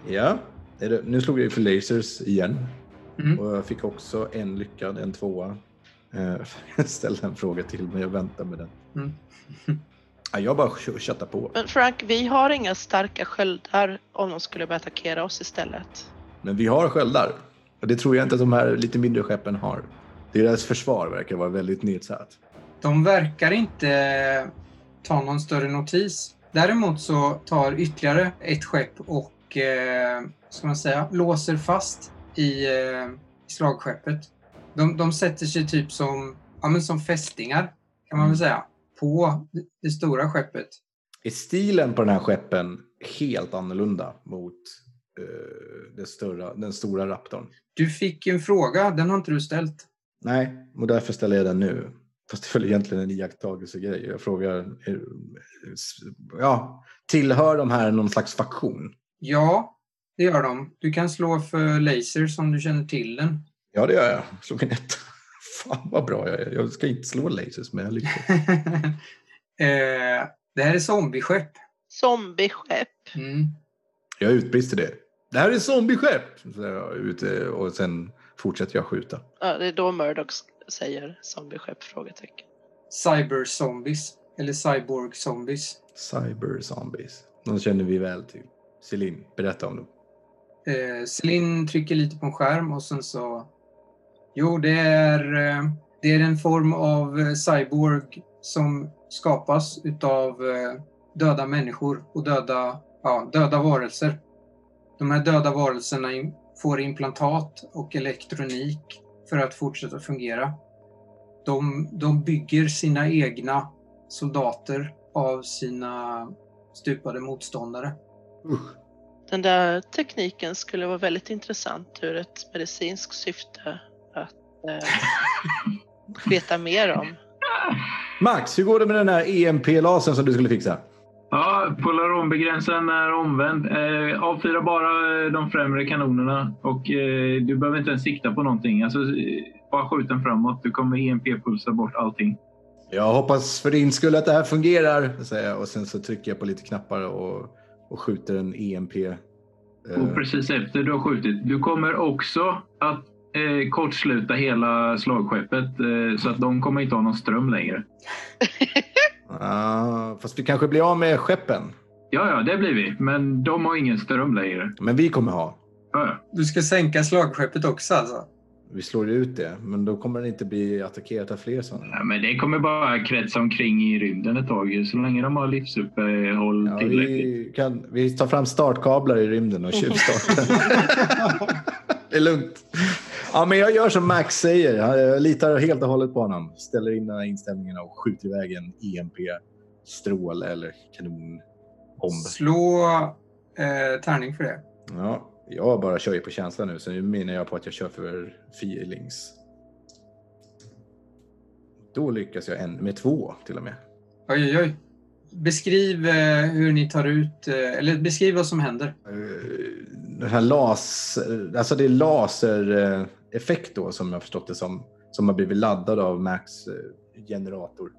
Speaker 1: Ja, är det, nu slog jag ju för lasers igen.
Speaker 4: Mm.
Speaker 1: Och jag fick också en lyckad, en tvåa. Eh, Jag ställde en fråga till, men jag väntar med den.
Speaker 4: Mm.
Speaker 1: Ja, jag bara kö- köttar på.
Speaker 2: Men Frank, vi har inga starka sköldar om de skulle börja attackera oss istället.
Speaker 1: Men vi har sköldar. Och det tror jag inte att de här lite mindre skeppen har. Deras försvar verkar vara väldigt nedsatt.
Speaker 4: De verkar inte eh, ta någon större notis. Däremot så tar ytterligare ett skepp och, eh, ska man säga, låser fast i eh, slagskeppet. De, de sätter sig typ som, ja, men som fästingar, kan man väl säga, på det- det stora skeppet.
Speaker 1: Är stilen på den här skeppen helt annorlunda mot eh, det större, den stora raptorn?
Speaker 4: Du fick en fråga, den har inte du ställt.
Speaker 1: Nej, och därför ställer jag den nu. Fast det är väl egentligen en iakttagelsegrej. Jag frågar, eh, s- ja, tillhör de här någon slags faktion?
Speaker 4: Ja, det gör de. Du kan slå för laser som du känner till den.
Speaker 1: Ja, det gör jag. Jag Slog en etta. Fan vad bra jag är. Jag ska inte slå lasers, men jag lyckas.
Speaker 4: eh, det här är zombieskepp.
Speaker 2: Zombieskepp.
Speaker 4: Mm.
Speaker 1: Jag utbrister det. Det här är zombieskepp! Så jag är ute och sen fortsätter jag skjuta.
Speaker 2: Ja, det är då Murdoch säger zombieskepp? Frågetecken.
Speaker 4: Cyberzombies. Eller cyborg-zombies.
Speaker 1: Cyber zombies. De känner vi väl till. Celine, berätta om dem.
Speaker 4: Eh, Celine trycker lite på en skärm och sen så... Jo, det är, eh, det är en form av eh, cyborg som skapas utav eh, döda människor och döda, ja, döda varelser. De här döda varelserna im- får implantat och elektronik för att fortsätta fungera. De, de bygger sina egna soldater av sina stupade motståndare.
Speaker 1: Usch.
Speaker 2: Den där tekniken skulle vara väldigt intressant ur ett medicinskt syfte att eh, veta mer om.
Speaker 1: Max, hur går det med den här EMP-lasern som du skulle fixa?
Speaker 3: Ja, Polaronbegränsaren är omvänd. Eh, avfyra bara eh, de främre kanonerna och eh, du behöver inte ens sikta på någonting. Alltså, eh, bara skjut den framåt. Du kommer E EMP-pulsa bort allting.
Speaker 1: Jag hoppas för din skull att det här fungerar, säger jag. Och sen så trycker jag på lite knappar och, och skjuter en EMP. eh,
Speaker 3: Och Oh, precis efter du har skjutit, du kommer också att eh, kortsluta hela slagskeppet eh, så att de kommer inte ha någon ström längre.
Speaker 1: ah, fast vi kanske blir av med skeppen.
Speaker 3: Ja, ja, det blir vi. Men de har ingen ström längre.
Speaker 1: Men vi kommer ha.
Speaker 3: Ja, ja.
Speaker 4: Du ska sänka slagskeppet också alltså?
Speaker 1: Vi slår ut det, men då kommer den inte bli attackerad av fler sådana.
Speaker 3: Ja, men det kommer bara kretsa omkring i rymden ett tag så länge de har livsuppehåll
Speaker 1: Ja,
Speaker 3: tillräckligt.
Speaker 1: vi, kan, vi tar fram startkablar i rymden och tjuvstartar. det är lugnt. Ja, men jag gör som Max säger. Jag litar helt och hållet på honom. Ställer in de här inställningarna och skjuter iväg en EMP-strål eller kanonbomb.
Speaker 4: Slå eh, tärning för det.
Speaker 1: Ja, jag bara kör ju på känsla nu, så nu menar jag på att jag kör för feelings. Då lyckas jag en, med två till och med.
Speaker 4: Oj, oj, oj. Beskriv eh, hur ni tar ut, eh, eller beskriv vad som händer.
Speaker 1: Eh, Den här laser, alltså det är lasereffekt då som jag har förstått det som, som har blivit laddad av Max eh, generator.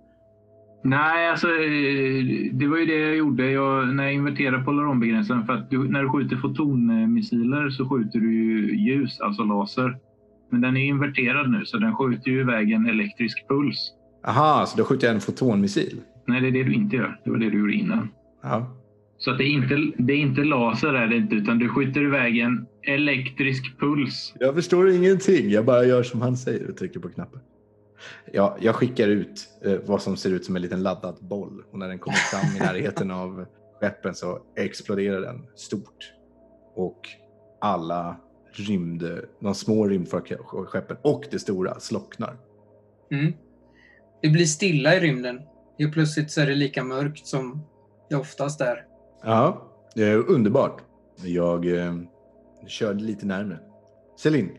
Speaker 3: Nej, alltså eh, det var ju det jag gjorde jag, när jag inverterade polaronbegränsaren. För att du, när du skjuter fotonmissiler så skjuter du ju ljus, alltså laser. Men den är inverterad nu så den skjuter ju iväg en elektrisk puls.
Speaker 1: Aha, så då skjuter jag en fotonmissil?
Speaker 3: Nej, det är det du inte gör. Det var det du gjorde innan.
Speaker 1: Ja.
Speaker 3: Så att det, är inte, det är inte laser är det inte, utan du skjuter iväg en elektrisk puls.
Speaker 1: Jag förstår ingenting, jag bara gör som han säger och trycker på knappen. Ja, jag skickar ut eh, vad som ser ut som en liten laddad boll och när den kommer fram i närheten av skeppen så exploderar den stort. Och alla rymd, de små rymdskeppen och det stora slocknar.
Speaker 4: Mm. Det blir stilla i rymden. Helt plötsligt så är det lika mörkt som det oftast är.
Speaker 1: Ja, det är underbart. Jag eh, körde lite närmre. Celine,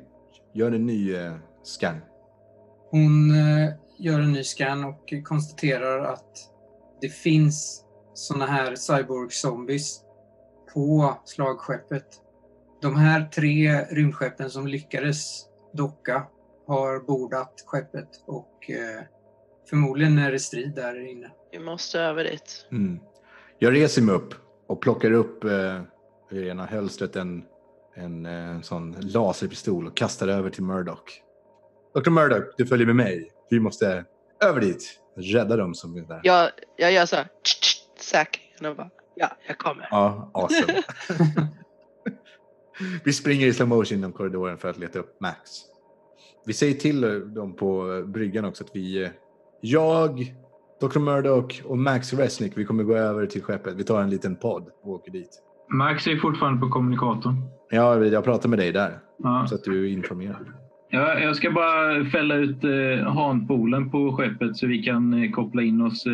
Speaker 1: gör en ny eh, scan.
Speaker 4: Hon eh, gör en ny scan och konstaterar att det finns såna här cyborg-zombies på slagskeppet. De här tre rymdskeppen som lyckades docka har bordat skeppet och eh, förmodligen är det strid där inne.
Speaker 2: Vi måste över dit.
Speaker 1: Mm. Jag reser mig upp och plockar upp eh, ur ena hölstret en, en eh, sån laserpistol och kastar över till Murdoch. Dr Murdoch, du följer med mig. Vi måste över dit. Rädda dem som är där.
Speaker 2: Jag, jag gör så här, tsch, tsch, säkringen och bara, ja, jag kommer.
Speaker 1: Ja, awesome. Vi springer i slow motion genom korridoren för att leta upp Max. Vi säger till dem på bryggan också att vi... eh, Jag, Dr. Murdoch och Max Resnick, vi kommer gå över till skeppet. Vi tar en liten podd och åker dit.
Speaker 3: Max är fortfarande på kommunikatorn.
Speaker 1: Ja, jag pratar med dig där
Speaker 3: Ja.
Speaker 1: så att du informerar.
Speaker 3: Ja, jag ska bara fälla ut eh, hanpolen på skeppet så vi kan eh, koppla in oss eh,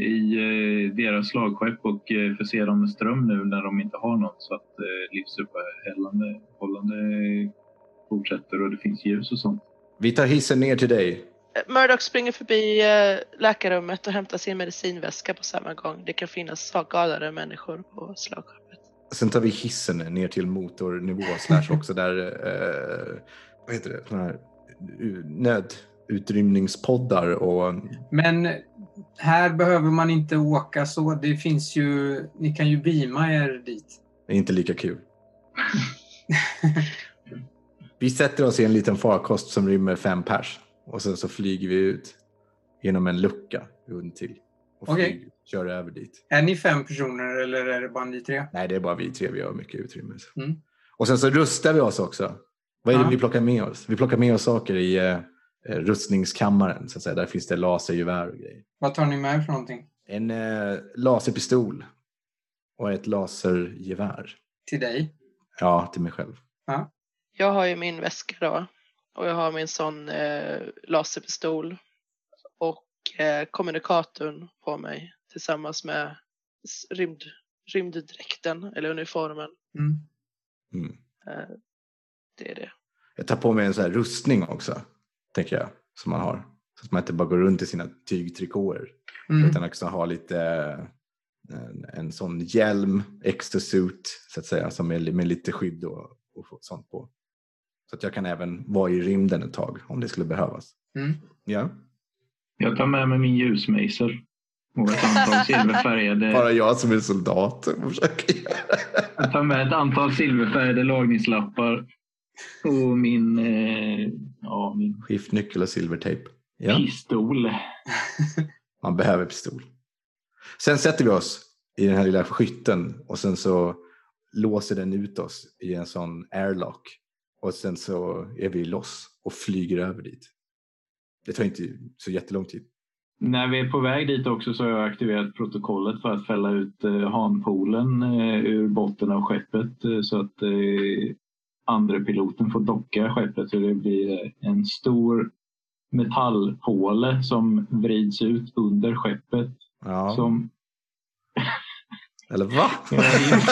Speaker 3: i eh, deras slagskepp och eh, förse dem med ström nu när de inte har något så att eh, livsuppehållande hållande fortsätter och det finns ljus och sånt.
Speaker 1: Vi tar hissen ner till dig.
Speaker 2: Eh, Murdoch springer förbi eh, läkarrummet och hämtar sin medicinväska på samma gång. Det kan finnas sakskadade människor på slagskeppet.
Speaker 1: Sen tar vi hissen ner till motornivå slash också där eh, vad heter det? Såna här u- nödutrymningspoddar och
Speaker 4: Men här behöver man inte åka så. Det finns ju, ni kan ju beama er dit.
Speaker 1: Det är inte lika kul. vi sätter oss i en liten farkost som rymmer fem pers och sen så flyger vi ut genom en lucka runt till och
Speaker 4: Okej.
Speaker 1: flyger, kör över dit.
Speaker 4: Är ni fem personer eller är det bara ni tre?
Speaker 1: Nej, det är bara vi tre. Vi har mycket utrymme.
Speaker 4: Mm.
Speaker 1: Och sen så rustar vi oss också. Vad är det
Speaker 4: Ja.
Speaker 1: vi plockar med oss? Vi plockar med oss saker i eh, eh, rustningskammaren. Så att säga. Där finns det lasergevär och grejer.
Speaker 4: Vad tar ni med för någonting
Speaker 1: En eh, laserpistol och ett lasergevär.
Speaker 4: till dig?
Speaker 1: Ja, till mig själv.
Speaker 2: Jag har ju min väska då. Och jag har min sån eh, laserpistol. Och eh, kommunikatorn på mig. Tillsammans med s- rymd, rymddräkten eller uniformen.
Speaker 4: Mm.
Speaker 2: Det är det.
Speaker 1: Jag tar på mig en sån här rustning också, tänker jag, som man har. Så att man inte bara går runt i sina tygtrikåer.
Speaker 4: Mm.
Speaker 1: Utan också ha lite eh, en, en sån hjälm, extra suit, så att säga, som är li- med lite skydd och, och få- sånt på. Så att jag kan även vara i rymden ett tag om det skulle behövas.
Speaker 4: Mm.
Speaker 1: Ja.
Speaker 3: Jag tar med mig min ljusmejsel. Och ett antal silverfärgade,
Speaker 1: Bara jag som är soldat och försöker göra.
Speaker 3: jag tar med ett antal silverfärgade lagningslappar. Och min, eh, ja, min
Speaker 1: Skiftnyckel och silvertejp. Ja,
Speaker 3: pistol.
Speaker 1: man behöver pistol. Sen sätter vi oss i den här lilla skytten och sen så låser den ut oss i en sån airlock. Och sen så är vi loss och flyger över dit. Det tar inte så jättelång tid.
Speaker 3: När vi är på väg dit också så har jag aktiverat protokollet för att fälla ut eh, hanpoolen eh, ur botten av skeppet eh, så att eh, andre piloten får docka skeppet så det blir eh, en stor metallpåle som vrids ut under skeppet.
Speaker 1: Ja.
Speaker 3: Som...
Speaker 1: Eller va?
Speaker 3: Jag minns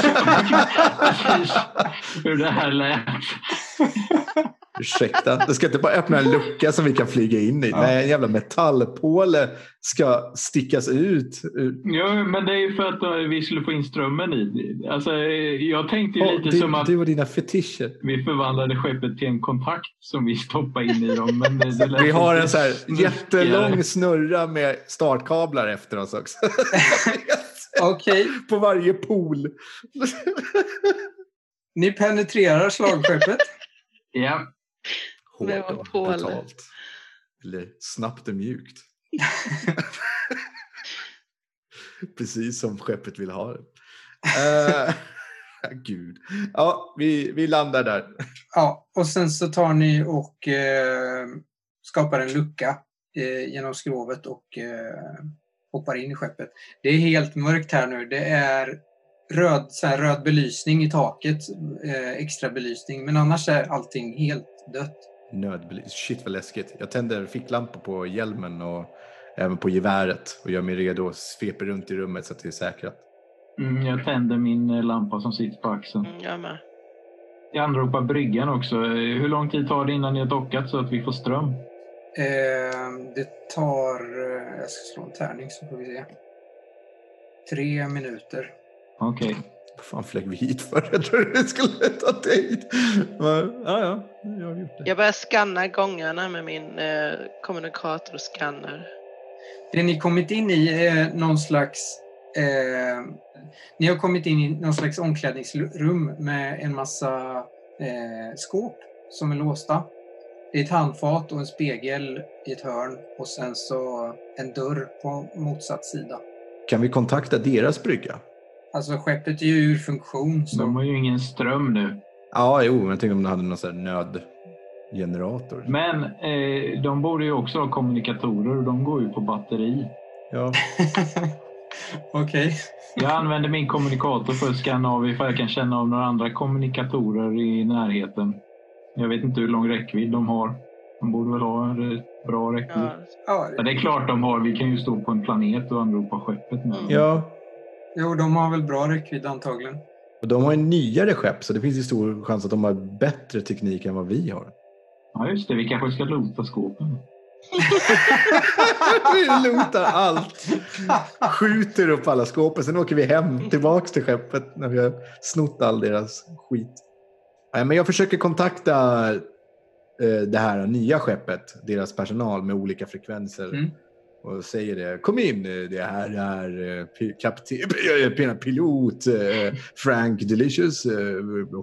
Speaker 3: precis hur det här lät.
Speaker 1: Ursäkta, du ska inte bara öppna en lucka som vi kan flyga in i.
Speaker 4: Ja.
Speaker 1: Nej, en jävla metallpåle ska stickas ut. ur-
Speaker 3: Jo, men det är ju för att eh, vi skulle få in strömmen i. Alltså, eh, jag tänkte ju
Speaker 1: Åh,
Speaker 3: lite
Speaker 1: du,
Speaker 3: som att
Speaker 1: du och dina fetischer.
Speaker 3: Vi förvandlade skeppet till en kontakt som vi stoppade in i dem. Men det, det lät
Speaker 1: Vi har
Speaker 3: lite
Speaker 1: en så här
Speaker 3: snuskigare.
Speaker 1: jättelång snurra med startkablar efter oss också.
Speaker 4: Okej,
Speaker 1: På varje pool.
Speaker 4: ni penetrerar slagskeppet.
Speaker 3: Ja,
Speaker 1: Hårt
Speaker 2: Men vad
Speaker 1: och
Speaker 2: påle.
Speaker 1: brutalt. Eller snabbt och mjukt. Precis som skeppet vill ha det. Eh, gud. Ja, vi, vi landar där.
Speaker 4: Ja, och sen så tar ni och eh, skapar en lucka eh, genom skrovet och eh, hoppar in i skeppet. Det är helt mörkt här nu. Det är röd, så här röd belysning i taket, eh, extra belysning, men annars är allting helt dött.
Speaker 1: Nödbelys. Shit vad läskigt. Jag tänder ficklampor på hjälmen och även på geväret och gör mig redo och sveper runt i rummet så att det är säkrat.
Speaker 3: mm, jag tände min eh, lampa som sitter på axeln.
Speaker 2: Mm, jag med.
Speaker 3: Jag anropar bryggan också. Eh, Hur lång tid tar det innan ni har dockat så att vi får ström?
Speaker 4: Eh, det tar, eh, jag ska slå en tärning så får vi se. Tre minuter.
Speaker 3: Okej.
Speaker 1: Vad fan flög vi hit för? Jag trodde det skulle ta tid. Men, ja, ja, jag har gjort det.
Speaker 2: Jag börjar scanna gångarna med min eh, kommunikator och scanner.
Speaker 4: Det ni kommit in i är någon slags... Eh, ni har kommit in i någon slags omklädningsrum med en massa eh, skåp som är låsta. Det är ett handfat och en spegel i ett hörn och sen så en dörr på motsatt sida.
Speaker 1: Kan vi kontakta deras brygga?
Speaker 4: Alltså skeppet är ju ur funktion. Så.
Speaker 3: De har ju ingen ström nu.
Speaker 1: Ja, jo, men jag tänkte om de hade någon sån här nödgenerator.
Speaker 3: Men eh, de borde ju också ha kommunikatorer och de går ju på batteri.
Speaker 1: Ja,
Speaker 4: Okej.
Speaker 3: Jag använder min kommunikator för att scanna av ifall jag kan känna av några andra kommunikatorer i närheten. Jag vet inte hur lång räckvidd de har. De borde väl ha en rätt bra räckvidd.
Speaker 2: Ja,
Speaker 4: Ja,
Speaker 3: Ja. Det är klart de har. Vi kan ju stå på en planet och anropa skeppet nu.
Speaker 2: Mm.
Speaker 1: ja.
Speaker 4: jo, de har väl bra räckvidd antagligen.
Speaker 1: Och de har ju nyare skepp så det finns ju stor chans att de har bättre teknik än vad vi har.
Speaker 3: Ja, just det. Vi kanske ska lota skåpen.
Speaker 1: vi lootar allt. Skjuter upp alla skåpen, sen åker vi hem tillbaks till skeppet när vi har snott all deras skit. Nej, men jag försöker kontakta eh, det här nya skeppet, deras personal med olika frekvenser.
Speaker 4: Mm.
Speaker 1: Och säger det. Kom in, eh, det här är eh, pi- kapten, eh, pilot eh, Frank Delicious eh,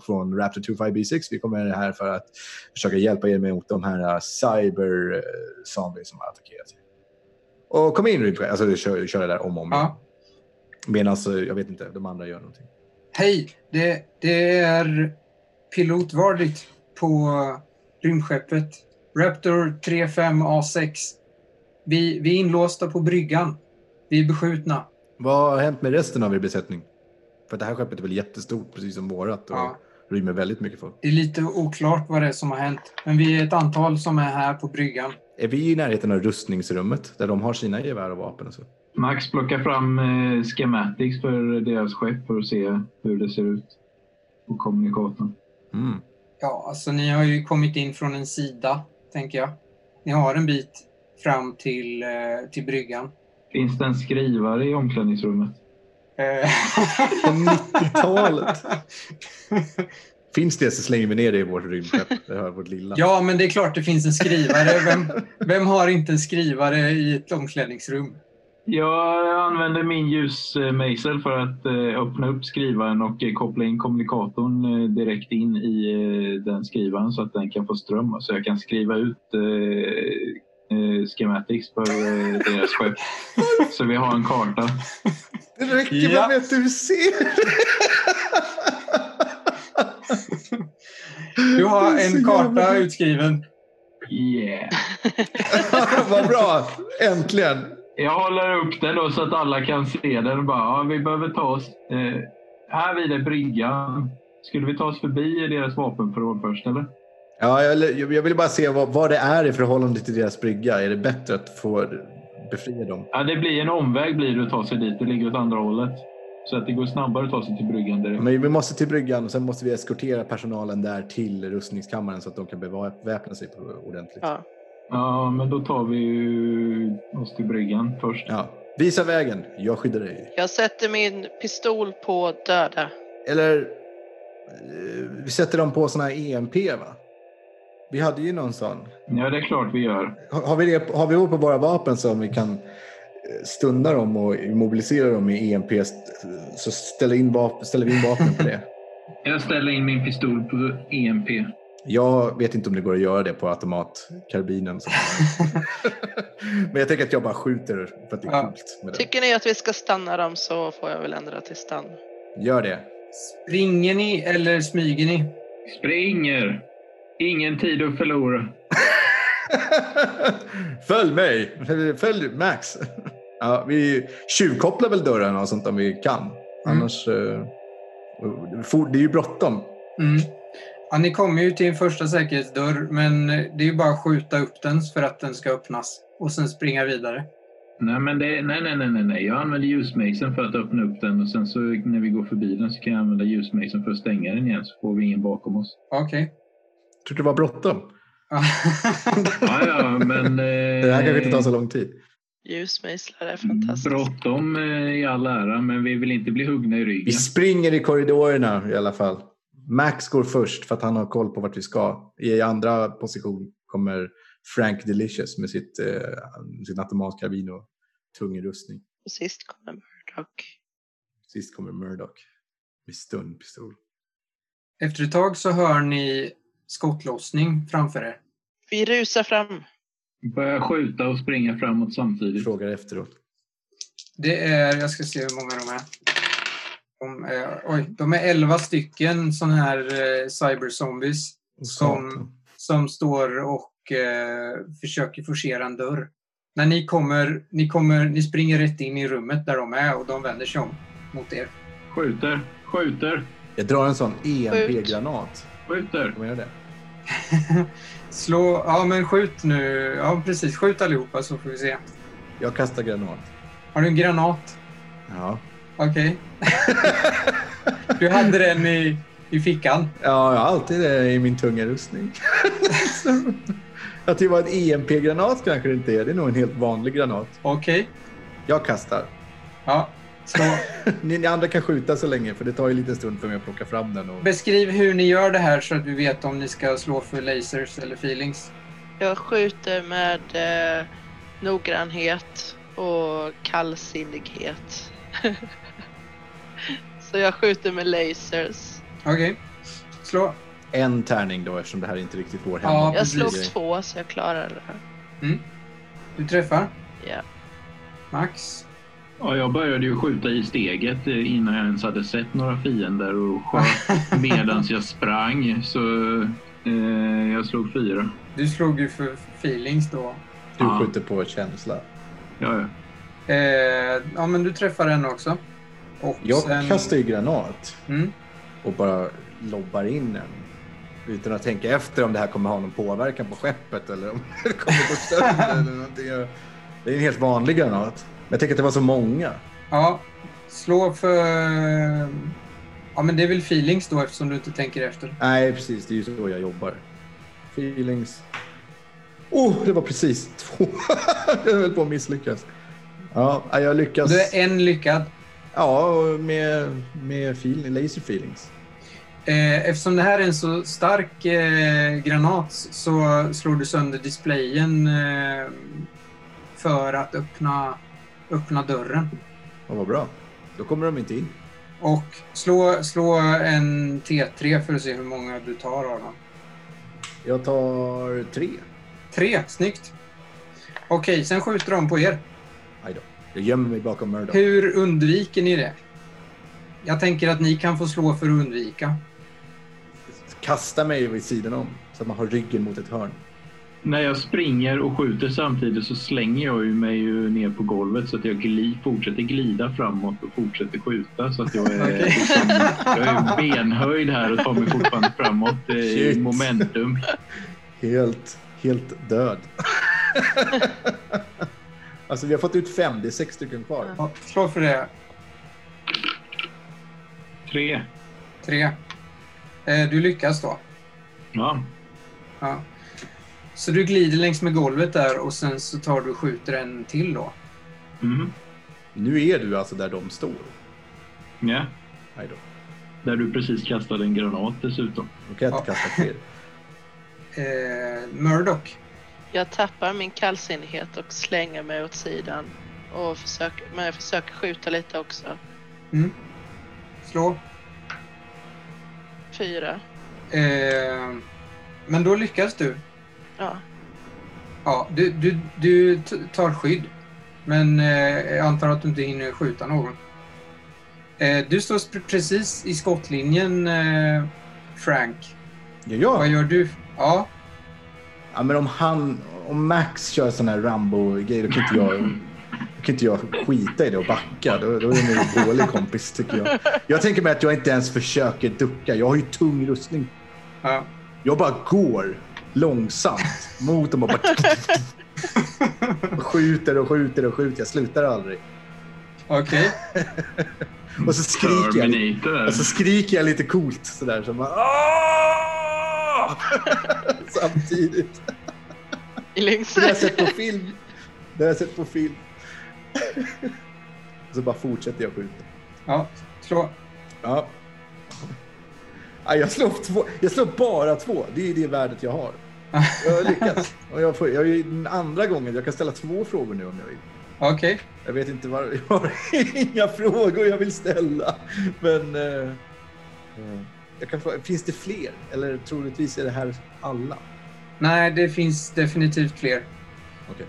Speaker 1: från Raptor 25B6. Vi kommer här för att försöka hjälpa er mot de här eh, cyber eh, zombies som har attackerat er. Och kom in, rymdskepp. alltså jag kör, kör det där om och om igen.
Speaker 4: Ja.
Speaker 1: Medan, eh, jag vet inte, de andra gör någonting.
Speaker 4: Hej, det, det är pilot Vardit på rymdskeppet Raptor 35A6. Vi, vi är inlåsta på bryggan. Vi är beskjutna.
Speaker 1: Vad har hänt med resten av er besättning? För det här skeppet är väl jättestort, precis som vårat, och
Speaker 4: Ja.
Speaker 1: rymmer väldigt mycket folk.
Speaker 4: Det är lite oklart vad det är som har hänt. Men vi är ett antal som är här på bryggan.
Speaker 1: Är vi i närheten av rustningsrummet, där de har sina gevär och vapen och så?
Speaker 3: Max plockar fram eh, schematics för deras skepp för att se hur det ser ut på kommunikatorn.
Speaker 1: Mm.
Speaker 4: Ja, alltså ni har ju kommit in från en sida, tänker jag. Ni har en bit fram till, eh, till bryggan.
Speaker 3: Finns det en skrivare i omklädningsrummet?
Speaker 4: Eh,
Speaker 1: På 90-talet! Finns det så slänger vi ner det i vårt rymdskepp, det här vårt lilla.
Speaker 4: ja, men det är klart det finns en skrivare. Vem, vem har inte en skrivare i ett omklädningsrum?
Speaker 3: Jag använder min ljusmejsel för att eh, öppna upp skrivaren och eh, koppla in kommunikatorn eh, direkt in i eh, den skrivaren så att den kan få ström så jag kan skriva ut eh, eh, schematics för eh, deras skepp. Så vi har en karta.
Speaker 1: Det räcker
Speaker 4: Ja.
Speaker 1: med att du ser!
Speaker 4: Du har
Speaker 1: Det är så
Speaker 4: en
Speaker 1: jävla
Speaker 4: karta
Speaker 1: bra.
Speaker 4: utskriven.
Speaker 3: Yeah.
Speaker 1: Vad bra! Äntligen!
Speaker 3: Jag håller upp den då så att alla kan se den och bara, ja, vi behöver ta oss. Eh, här vid är bryggan. Skulle vi ta oss förbi deras vapenförråd först eller?
Speaker 1: Ja, jag, jag vill bara se vad, vad det är i förhållande till deras brygga. Är det bättre att få befria dem?
Speaker 3: Ja, det blir en omväg blir det att ta sig dit. Det ligger åt andra hållet. Så att det går snabbare att ta sig till bryggan direkt.
Speaker 1: Men vi måste till bryggan och sen måste vi eskortera personalen där till rustningskammaren så att de kan beväpna sig på ordentligt.
Speaker 2: Ja.
Speaker 1: Ja.
Speaker 3: Ja, men då tar vi ju oss till bryggan först.
Speaker 1: Visa vägen, jag skyddar dig.
Speaker 2: Jag sätter min pistol på döda.
Speaker 1: Eller, eh, vi sätter dem på såna här EMP va? Vi hade ju någon sån.
Speaker 3: Ja, det är klart vi gör.
Speaker 1: Har, har vi det har vi det på våra vapen som vi kan eh, stunda dem och immobilisera dem i EMP st- så ställer, in vap- ställer vi in vapnen på det.
Speaker 3: Jag ställer in min pistol på E EMP.
Speaker 1: Jag vet inte om det går att göra det på automatkarbinen. som- Men jag tänker att jag bara skjuter för att det är
Speaker 4: Ja.
Speaker 1: coolt. Med det.
Speaker 2: Tycker ni att vi ska stanna dem så får jag väl ändra till stann.
Speaker 1: Gör det.
Speaker 4: Springer ni eller smyger ni?
Speaker 3: Springer! Ingen tid att förlora.
Speaker 1: Följ mig! Följ Max! Ja, vi tjuvkopplar väl dörrarna och sånt om vi kan. Annars... eh, for- Det är ju bråttom.
Speaker 4: Mm. Ja, ni kommer ju till en första säkerhetsdörr, men det är ju bara att skjuta upp den för att den ska öppnas och sen springa vidare.
Speaker 3: Nej, men det, nej, nej, nej, nej, nej. Jag använder ljusmejseln för att öppna upp den och sen så när vi går förbi den så kan jag använda ljusmejseln för att stänga den igen så får vi ingen bakom oss.
Speaker 4: Okej.
Speaker 1: Tror du det var bråttom?
Speaker 4: Ja.
Speaker 3: Ja, ja, men...
Speaker 1: Det här kanske inte tar så lång tid.
Speaker 2: Ljusmejslar är fantastiskt.
Speaker 3: Bråttom eh, i all ära, men vi vill inte bli huggna i
Speaker 1: Vi
Speaker 3: ryggen.
Speaker 1: springer i korridorerna i alla fall. Max går först för att han har koll på vart vi ska. I andra position kommer Frank Delicious med sitt, eh, sin automatkarbin och tung rustning.
Speaker 2: Och Sist kommer Murdoch.
Speaker 1: Sist kommer Murdoch med stundpistol.
Speaker 4: Efter ett tag så hör ni skottlossning framför er.
Speaker 2: Vi rusar fram.
Speaker 3: Börja skjuta och springa framåt
Speaker 1: Vi
Speaker 3: samtidigt.
Speaker 1: frågar efteråt.
Speaker 4: Det är, jag ska se hur många de är. De är, oj, de är 11 stycken sådana här eh, cyberzombies
Speaker 1: Och
Speaker 4: Som-
Speaker 1: satan.
Speaker 4: som står och eh, försöker forcera en dörr. När ni kommer, ni kommer, ni springer rätt in i rummet där de är och de vänder sig om mot er.
Speaker 3: Skjuter, skjuter,
Speaker 1: Jag drar en sån E EMP-granat.
Speaker 3: skjuter.
Speaker 1: Vad menar du?
Speaker 4: Slå, ja men skjut nu, ja precis, skjut allihopa så får vi se.
Speaker 1: Jag kastar granat.
Speaker 4: Har du en granat?
Speaker 1: Ja.
Speaker 4: Okej. du hade den i, i fickan.
Speaker 1: Ja, jag har alltid det i min tunga rustning. Så- Att det var en EMP-granat kanske det inte är. Det är nog en helt vanlig granat.
Speaker 4: Okej.
Speaker 1: Jag kastar.
Speaker 4: Ja. Slå.
Speaker 1: Ni, ni andra kan skjuta så länge för det tar ju en liten stund för mig att plocka fram den. Och...
Speaker 4: Beskriv hur ni gör det här så att vi vet om ni ska slå för lasers eller feelings.
Speaker 2: Jag skjuter med eh, noggrannhet och kallsinnighet. så jag skjuter med lasers.
Speaker 4: Okej. Slå.
Speaker 1: En tärning då eftersom det här är inte riktigt vår
Speaker 4: Ja,
Speaker 1: hemma.
Speaker 2: Jag
Speaker 4: precis.
Speaker 2: slog två så jag klarade det.
Speaker 4: Du träffar.
Speaker 2: Ja.
Speaker 4: Max.
Speaker 3: Ja, jag började ju skjuta i steget eh, innan jag ens hade sett några fiender och sköt medan jag sprang. Så eh, jag slog fyra.
Speaker 4: Du slog ju för feelings då.
Speaker 1: Du
Speaker 3: Ja.
Speaker 1: skjuter på känsla.
Speaker 3: Ja, ja.
Speaker 4: Eh, ja, men du träffar henne också. Och
Speaker 1: Jag
Speaker 4: sen...
Speaker 1: kastar ju granat
Speaker 4: Mm.
Speaker 1: och bara lobbar in den. Utan att tänka efter om det här kommer ha någon påverkan på skeppet eller om det kommer gå sönder eller någonting. Jag- Det är en helt vanlig granat. Men jag tänker att det var så många.
Speaker 4: Ja, slå för... Ja, men det är väl feelings då eftersom du inte tänker efter.
Speaker 1: Nej, precis. Det är ju så jag jobbar. Feelings. Oh, det var precis två. jag höll på att misslyckas. Ja, jag lyckas.
Speaker 4: Du är en lyckad.
Speaker 1: Ja, och med, med feeling, laser feelings.
Speaker 4: Eh, Eftersom det här är en så stark eh, granat så slår du sönder displayen eh, för att öppna, öppna dörren.
Speaker 1: Och vad bra. Då kommer de inte in.
Speaker 4: Och slå, slå en T3 för att se hur många du tar av dem.
Speaker 1: Jag tar tre.
Speaker 4: Tre, snyggt! Okej, sen skjuter de på er.
Speaker 1: Aj då. Jag gömmer mig bakom Murdoch.
Speaker 4: Hur undviker ni det? Jag tänker att ni kan få slå för att undvika.
Speaker 1: Kastar mig vid sidan om så att man har ryggen mot ett hörn.
Speaker 3: När jag springer och skjuter samtidigt så slänger jag ju mig ju ner på golvet så att jag gli, fortsätter glida framåt och fortsätter skjuta så att jag är,
Speaker 4: Okej.
Speaker 3: liksom, jag är benhöjd här och tar mig fortfarande framåt eh, i
Speaker 1: Shit.
Speaker 3: momentum.
Speaker 1: Helt, helt död. alltså vi har fått ut fem, det är sex stycken kvar.
Speaker 4: Ja, slå för det.
Speaker 3: Tre.
Speaker 4: Tre. Eh, Du lyckas då.
Speaker 3: Ja,
Speaker 4: Ja. Så du glider längs med golvet där och sen så tar du och skjuter en till då.
Speaker 3: mm.
Speaker 1: Nu är du alltså där de står.
Speaker 3: ja.
Speaker 1: Aj då.
Speaker 3: där du precis kastade en granat dessutom.
Speaker 1: Då kan jag inte
Speaker 4: Ja.
Speaker 1: kasta fler.
Speaker 4: Eh, Murdoch.
Speaker 2: Jag tappar min kallsinnighet och slänger mig åt sidan. Och försöker, men jag försöker skjuta lite också.
Speaker 4: Mm. Slå.
Speaker 2: Fyra.
Speaker 4: Eh, men då lyckas du.
Speaker 2: Ja.
Speaker 4: Ja, du, du, du t- tar skydd. Men eh, jag antar att du inte hinner skjuta någon. Eh, du står sp- precis i skottlinjen, eh, Frank.
Speaker 1: Ja, ja.
Speaker 4: Vad gör du? Ja,
Speaker 1: Ja, men om han, om Max kör sån här Rambo-grej, då kan inte jag, då kan inte jag skita i det och backa. Då, då är han ju en dålig kompis tycker jag. Jag tänker mig att jag inte ens försöker ducka. Jag har ju tung rustning.
Speaker 4: ja.
Speaker 1: Jag bara går långsamt mot dem och bara skjuter och skjuter och skjuter. Jag slutar aldrig.
Speaker 4: okej.
Speaker 1: Och så skriker jag, Alltså- lite-
Speaker 3: Terminator.
Speaker 1: och så skriker jag lite coolt sådär. Så bara, "Aah!" Samtidigt.
Speaker 2: Längs.
Speaker 1: Det har jag sett på film. Det har jag sett på film. Så bara fortsätter jag skjuta.
Speaker 4: Ja, slå.
Speaker 1: Ja. Ja, Jag slår, två. jag slår bara två. Det är det värdet jag har. Jag har lyckats. Och jag, får, jag är ju den andra gången. Jag kan ställa två frågor nu om jag vill.
Speaker 4: Okej.
Speaker 1: Jag vet inte var... Jag har inga frågor jag vill ställa. Men... eh, eh, jag kan fråga, finns det fler? Eller troligtvis är det här alla?
Speaker 4: Nej, det finns definitivt fler.
Speaker 1: Okej.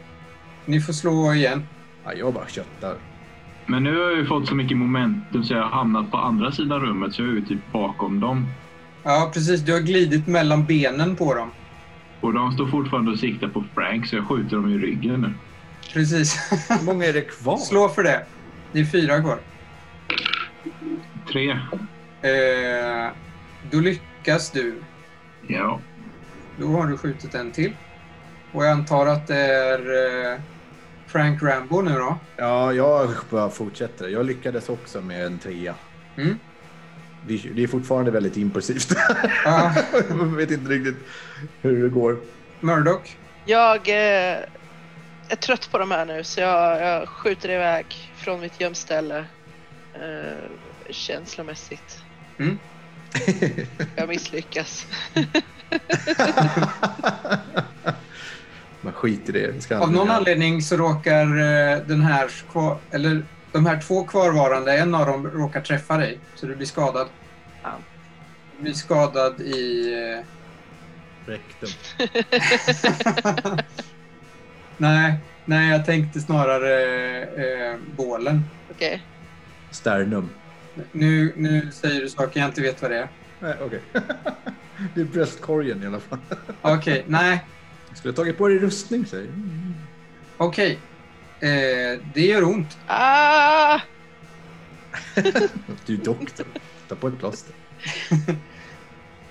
Speaker 4: Ni får slå igen.
Speaker 1: Ja, jag bara köttar.
Speaker 3: Men nu har jag ju fått så mycket momentum så jag har hamnat på andra sidan rummet så jag är ju typ bakom dem.
Speaker 4: Ja, precis. Du har glidit mellan benen på dem.
Speaker 3: Och de står fortfarande och siktar på Frank så jag skjuter dem i ryggen nu.
Speaker 4: Precis.
Speaker 1: Hur många är det kvar?
Speaker 4: slå för det. Det är fyra kvar.
Speaker 3: Tre.
Speaker 4: Eh, då lyckas du.
Speaker 3: Ja.
Speaker 4: Då har du skjutit en till. Och jag antar att det är eh, Frank Rambo nu då.
Speaker 1: Ja, jag bara fortsätter. Jag lyckades också med en trea.
Speaker 4: Mm.
Speaker 1: Det, det är fortfarande väldigt impulsivt.
Speaker 4: Ja,
Speaker 1: jag vet inte riktigt hur det går.
Speaker 4: Murdoch.
Speaker 2: Jag eh, är trött på de här nu så jag, jag skjuter iväg från mitt gömställe. Eh, känslomässigt.
Speaker 4: Mm.
Speaker 2: Jag misslyckas.
Speaker 1: Man skiter i det. det. Ska
Speaker 4: Av
Speaker 1: aldrig
Speaker 4: någon
Speaker 1: göra.
Speaker 4: anledning så råkar eh, den här kvar, eller de här två kvarvarande, en av dem råkar träffa dig. Så du blir skadad.
Speaker 2: Ja.
Speaker 4: Du blir skadad i... eh,
Speaker 1: Rektum.
Speaker 4: nej, nej, jag tänkte snarare eh, bålen.
Speaker 2: Okej.
Speaker 1: Sternum.
Speaker 4: Nu, nu säger du saker jag inte vet vad det är.
Speaker 1: Nej, okej. det är bröstkorgen i alla fall.
Speaker 4: Okej, nej.
Speaker 1: Jag skulle ha tagit på dig rustning, säger du.
Speaker 4: Okej. Eh, det gör ont.
Speaker 2: Ah!
Speaker 1: Du är doktor. Ta på ett plåster.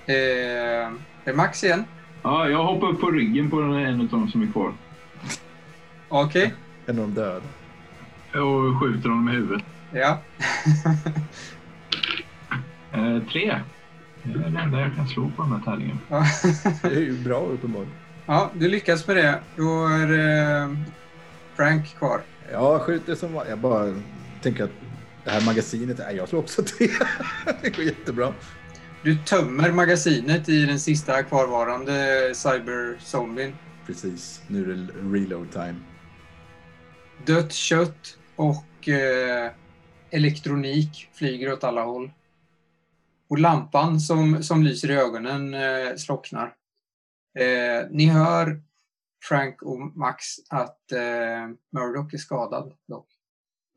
Speaker 4: Eh, det är Max igen.
Speaker 3: Ja, jag hoppar upp på ryggen på den här, en av dem som är kvar.
Speaker 4: Okej,
Speaker 1: En av de döda.
Speaker 3: Och skjuter honom i huvudet.
Speaker 4: ja.
Speaker 3: Eh, tre. Det är det enda jag kan slå på den här tärningen.
Speaker 4: Ja.
Speaker 1: Det är ju bra uppenbarligen.
Speaker 4: ja, du lyckas med det. Då är eh, Frank kvar.
Speaker 1: Ja, skjuter som vanligt. Jag bara tänker att det här magasinet, nej, jag slår också tre. det går jättebra.
Speaker 4: Du tömmer magasinet i den sista kvarvarande cyberzombien.
Speaker 1: Precis, nu är det reload time.
Speaker 4: Dött kött och eh, elektronik flyger åt alla håll. Och lampan som, som lyser i ögonen eh, slocknar. Eh, ni hör Frank och Max att eh, Murdoch är skadad. Dock.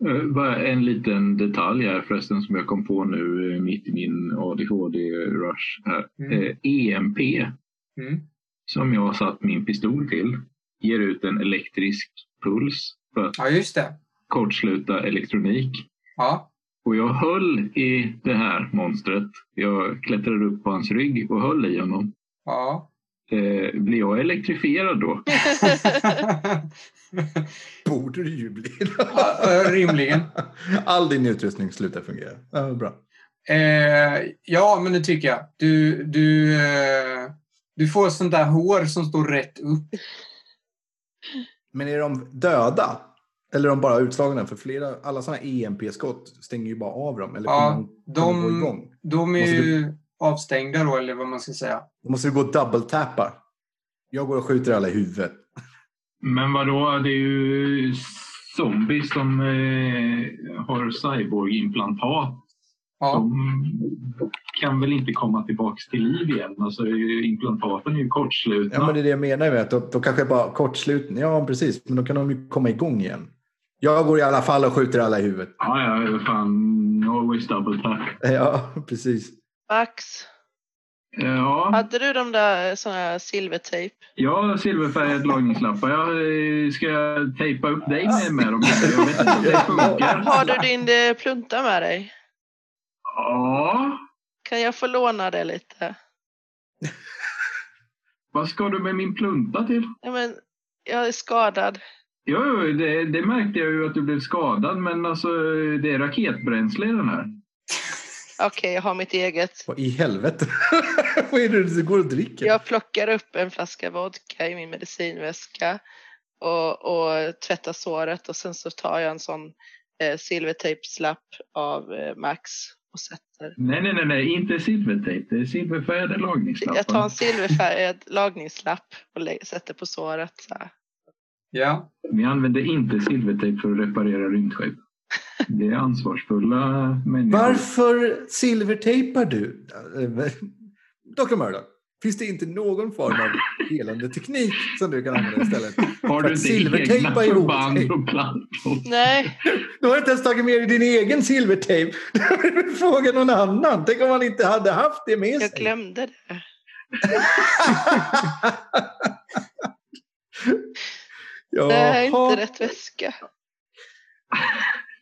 Speaker 3: Eh, Bara en liten detalj här förresten som jag kom på nu eh, mitt i min ADHD-rush här.
Speaker 4: Mm.
Speaker 3: Eh, EMP,
Speaker 4: Mm.
Speaker 3: som jag har satt min pistol till, ger ut en elektrisk puls för att
Speaker 4: Ja, just det.
Speaker 3: kortsluta elektronik.
Speaker 4: Ja,
Speaker 3: Och jag höll i det här monstret. Jag klättrade upp på hans rygg och höll i honom.
Speaker 4: ja.
Speaker 3: Eh, blir jag elektrifierad då?
Speaker 1: Borde du ju bli.
Speaker 4: Ja, Rimligen.
Speaker 1: All din utrustning slutar fungera. Ja, bra.
Speaker 4: Eh, ja, men det tycker jag. Du, du, eh, du får sånt där hår som står rätt upp.
Speaker 1: Men är de döda? Eller är de bara utslagna? För flera, alla sådana EMP-skott stänger ju bara av dem. Eller
Speaker 4: Ja,
Speaker 1: kommer de,
Speaker 4: de-
Speaker 1: kommer gå igång?
Speaker 4: De är
Speaker 1: Måste du-
Speaker 4: ju avstängda då, eller vad man ska säga.
Speaker 1: Då måste du gå och double-tappa. Jag går och skjuter alla i huvudet.
Speaker 3: Men vadå, det är ju zombies som eh, har cyborg-implantat.
Speaker 4: Ja,
Speaker 3: De kan väl inte komma tillbaks till liv igen? Alltså, implantaten är ju kortslutna.
Speaker 1: Ja, men det är det jag menar med att de, de kanske bara kortslutna. Ja, precis. Men då kan de ju komma igång igen. Jag går i alla fall och skjuter alla i huvudet.
Speaker 3: ja, ja, fan. Always double tap. Eh,
Speaker 1: Ja, precis.
Speaker 2: Max,
Speaker 3: Ja,
Speaker 2: hade du de där eh, såna här silvertejp?
Speaker 3: jag har silverfärgad lagningslampa. Jag eh, ska jag tejpa upp dig med, med dem. här? Jag vet inte om det funkar.
Speaker 2: Har du din eh, plunta med dig?
Speaker 3: Ja,
Speaker 2: Kan jag få låna det lite?
Speaker 3: vad ska du med min plunta till?
Speaker 2: Ja, men jag är skadad.
Speaker 3: Jo, jo, det, det märkte jag ju att du blev skadad, men alltså det är raketbränsle i den här.
Speaker 2: Okej, jag har mitt eget.
Speaker 1: Vad i helvete? Vad är det du går och dricker?
Speaker 2: Jag plockar upp en flaska vodka i min medicinväska och, och tvättar såret och sen så tar jag en sån eh, silvertejpslapp av eh, Max och sätter.
Speaker 3: Nej, nej, nej, nej inte silvertejp. Det är silverfärgade
Speaker 2: Jag tar en
Speaker 3: lagningslappar.
Speaker 2: silverfärgad lagningslapp och lä- sätter på såret. Så här.
Speaker 4: ja.
Speaker 3: Vi använder inte silvertejp för att reparera rymdskepp. Det är ansvarsfulla människor.
Speaker 1: Varför silvertejpar du? Dr. Murdoch, finns det inte någon form av helande teknik som du kan använda istället?
Speaker 3: Har du inte egna
Speaker 1: Silvertejpa ihop dig.
Speaker 3: förband och plantor?
Speaker 2: Nej,
Speaker 1: Du har inte ens tagit med dig din egen silvertejp. Du har frågat någon annan. Tänk om man inte hade haft det med
Speaker 2: jag
Speaker 1: sig.
Speaker 2: glömde det. Det här
Speaker 1: Jaha.
Speaker 2: är inte rätt väska.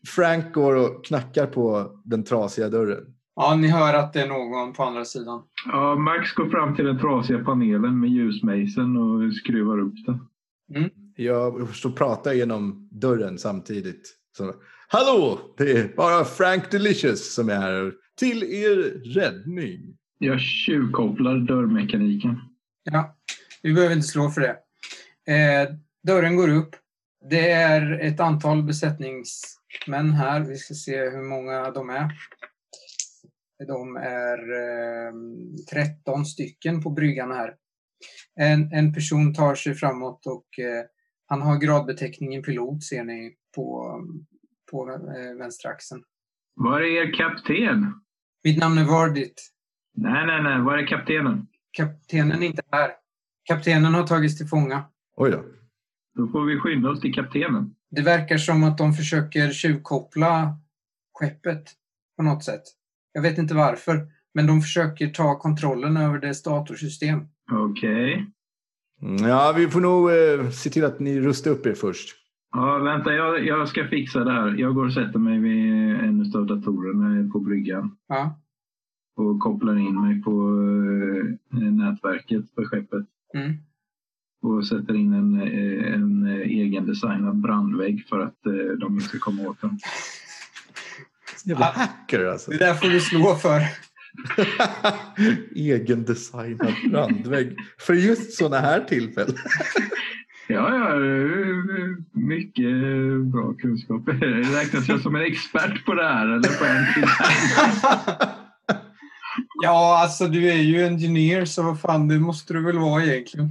Speaker 1: Frank går och knackar på den trasiga dörren.
Speaker 4: ja, ni hör att det är någon på andra sidan.
Speaker 3: Ja, Max går fram till den trasiga panelen med ljusmejseln och skruvar upp den.
Speaker 1: Jag så pratar genom dörren samtidigt. Så, Hallå! Det är bara Frank Delicious som är här. Till er räddning.
Speaker 3: Jag tjuvkopplar dörrmekaniken.
Speaker 4: Ja, du behöver inte slå för det. Eh, dörren går upp. Det är ett antal besättningsmän här. Vi ska se hur många de är. De är eh, 13 stycken på bryggan här. En, en person tar sig framåt och eh, han har gradbeteckningen pilot ser ni på, på eh, vänstra axeln.
Speaker 3: Var är er kapten?
Speaker 4: Mitt namn är Vardit.
Speaker 3: Nej, nej, nej. Var är kaptenen?
Speaker 4: Kaptenen är inte här. Kaptenen har tagits till fånga.
Speaker 1: Oj då.
Speaker 3: Då får vi skynda oss till kaptenen.
Speaker 4: Det verkar som att de försöker tjuvkoppla skeppet på något sätt. Jag vet inte varför, men de försöker ta kontrollen över dess datorsystem.
Speaker 3: Okej.
Speaker 1: Mm, Ja, vi får nog eh, se till att ni rustar upp er först.
Speaker 3: Ja, vänta, jag, jag ska fixa det här. Jag går och sätter mig vid en av datorerna på bryggan
Speaker 4: Ja.
Speaker 3: och kopplar in mig på eh, nätverket för skeppet
Speaker 4: Mm.
Speaker 3: och sätter in en, eh, en eh, egendesignad brandvägg för att eh, de inte ska komma åt den.
Speaker 1: Jävla
Speaker 4: Ah.
Speaker 1: hacker alltså.
Speaker 4: Det där får du slå för.
Speaker 1: Egendesignad brandvägg. För just sådana här tillfällen.
Speaker 3: Ja, ja, eh, mycket eh, bra kunskap. Räknas jag som en expert på det här eller på en till?
Speaker 4: Ja, alltså du är ju engineer så vad fan, det måste du väl vara egentligen.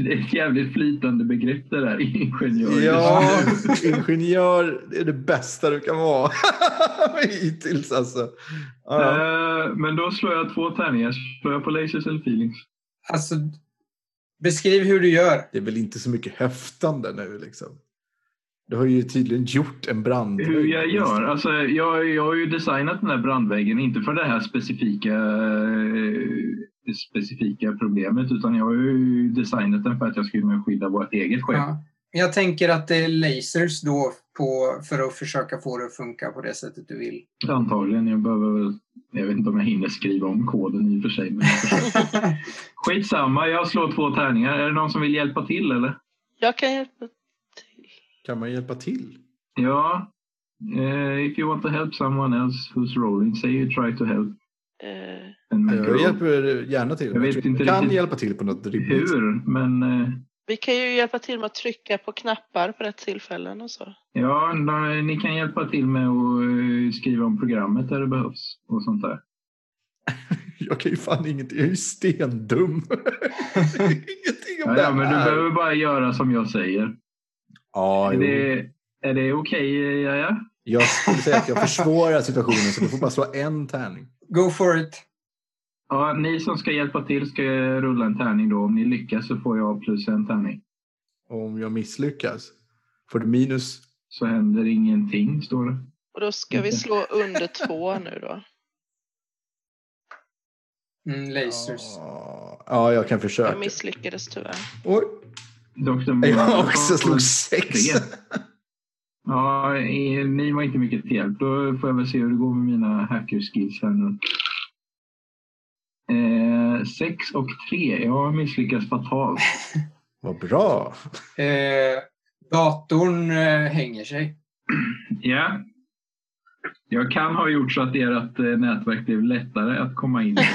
Speaker 3: Det är ett jävligt flytande begrepp det där, ingenjör.
Speaker 1: Ja, ingenjör är det bästa du kan vara. Hittills alltså. Ja, ja.
Speaker 3: Eh, Men då slår jag två tärningar. Slår jag på lasers eller feelings?
Speaker 4: Alltså, beskriv hur du gör.
Speaker 1: Det är väl inte så mycket höftande nu liksom. Du har ju tydligen gjort en brandvägg.
Speaker 3: Hur jag gör? Alltså, jag, jag har ju designat den här brandväggen, inte för det här specifika, eh, specifika problemet, utan jag har ju designat den för att jag skulle kunna skydda vårt eget skepp.
Speaker 4: Ja. Jag tänker att det är lasers då på, för att försöka få det att funka på det sättet du vill.
Speaker 3: Antagligen. Jag behöver väl... Jag vet inte om jag hinner skriva om koden i och för sig. Men skitsamma, jag slår två tärningar. Är det någon som vill hjälpa till eller?
Speaker 2: Jag kan hjälpa till.
Speaker 1: Kan man hjälpa till?
Speaker 3: Ja. Eh, if you want to help someone else who's rolling, say you try to help.
Speaker 2: Eh,
Speaker 3: and make a roll.
Speaker 1: Jag hjälper gärna till.
Speaker 3: Jag vet
Speaker 1: tror
Speaker 3: inte
Speaker 1: kan
Speaker 3: riktigt
Speaker 1: hjälpa till på något rimligt sätt.
Speaker 3: Hur? Men... Eh,
Speaker 2: vi kan ju hjälpa till med att trycka på knappar på rätt tillfällen och så.
Speaker 3: Ja, då- ni kan hjälpa till med att eh, skriva om programmet där det behövs och sånt där.
Speaker 1: Jag kan ju fan ingenting. Jag är ju stendum. ingenting om
Speaker 3: Ja,
Speaker 1: det
Speaker 3: ja, men du
Speaker 1: här.
Speaker 3: behöver bara göra som jag säger.
Speaker 1: Ja,
Speaker 3: Är
Speaker 1: jo.
Speaker 3: det, är det okej, eh, okay, Jaja?
Speaker 1: Jag skulle säga att jag försvårar situationen så du får bara slå en tärning.
Speaker 4: Go for it.
Speaker 3: Ja, ni som ska hjälpa till ska rulla en tärning då. Om ni lyckas så får jag plus en tärning.
Speaker 1: Och om jag misslyckas får du minus.
Speaker 3: Så händer ingenting, står det.
Speaker 2: Och då ska vi slå under två nu då.
Speaker 4: Mm, lasers.
Speaker 1: Ja, Ja, jag kan försöka.
Speaker 2: Jag misslyckades tyvärr.
Speaker 1: Oj,
Speaker 3: Dr.
Speaker 1: jag
Speaker 3: Moran-
Speaker 1: också slog sex.
Speaker 3: Ja, eh, ni var inte mycket till hjälp. Då får jag väl se hur det går med mina hackerskills här nu. Eh, sex och tre. Jag har misslyckats fatalt.
Speaker 1: Vad bra.
Speaker 4: Eh, datorn eh, hänger sig.
Speaker 3: Ja. Jag kan ha gjort så att ert eh, nätverk blev lättare att komma in i.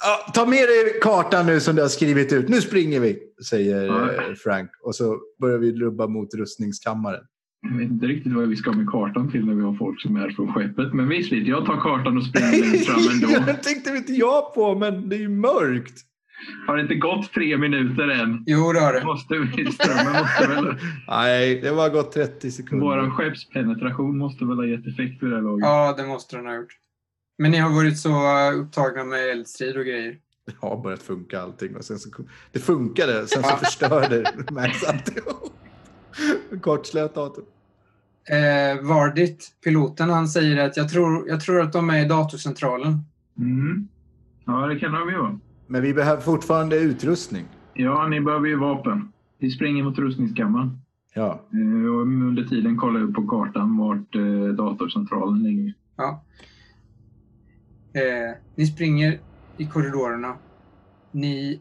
Speaker 1: Ja, ta med dig kartan nu som du har skrivit ut. Nu springer vi, säger
Speaker 3: Ja.
Speaker 1: eh, Frank. Och så börjar vi rubba mot rustningskammaren.
Speaker 3: Jag vet inte riktigt vad vi ska med kartan till när vi har folk som är från skeppet. Men visst, jag tar kartan och springer längst fram ändå.
Speaker 1: det tänkte inte jag på, men det är ju mörkt.
Speaker 3: Har det inte gått tre minuter än?
Speaker 4: Jo, det har det.
Speaker 3: Måste vi, strömmen måste väl...
Speaker 1: Nej, det var gått 30 sekunder.
Speaker 3: Vår skeppspenetration måste väl ha gett effekt vid det här laget.
Speaker 4: Ja, det måste den ha gjort. Men ni har varit så eh, upptagna med eldstrid och grejer.
Speaker 1: Det har börjat funka allting. Och sen så, det funkade, sen så förstörde Max alltihop. Kortslöt datorn.
Speaker 4: Eh, Vardit, piloten, han säger att jag tror, jag tror att de är i datorcentralen.
Speaker 3: Mm. Ja, det kan de ju vara.
Speaker 1: Men vi behöver fortfarande utrustning.
Speaker 3: Ja, ni behöver ju vapen. Vi springer mot rustningskammaren.
Speaker 1: Ja.
Speaker 3: Eh, Och under tiden kollar jag upp på kartan vart eh, datorcentralen ligger.
Speaker 4: Ja. Eh, ni springer i korridorerna. Ni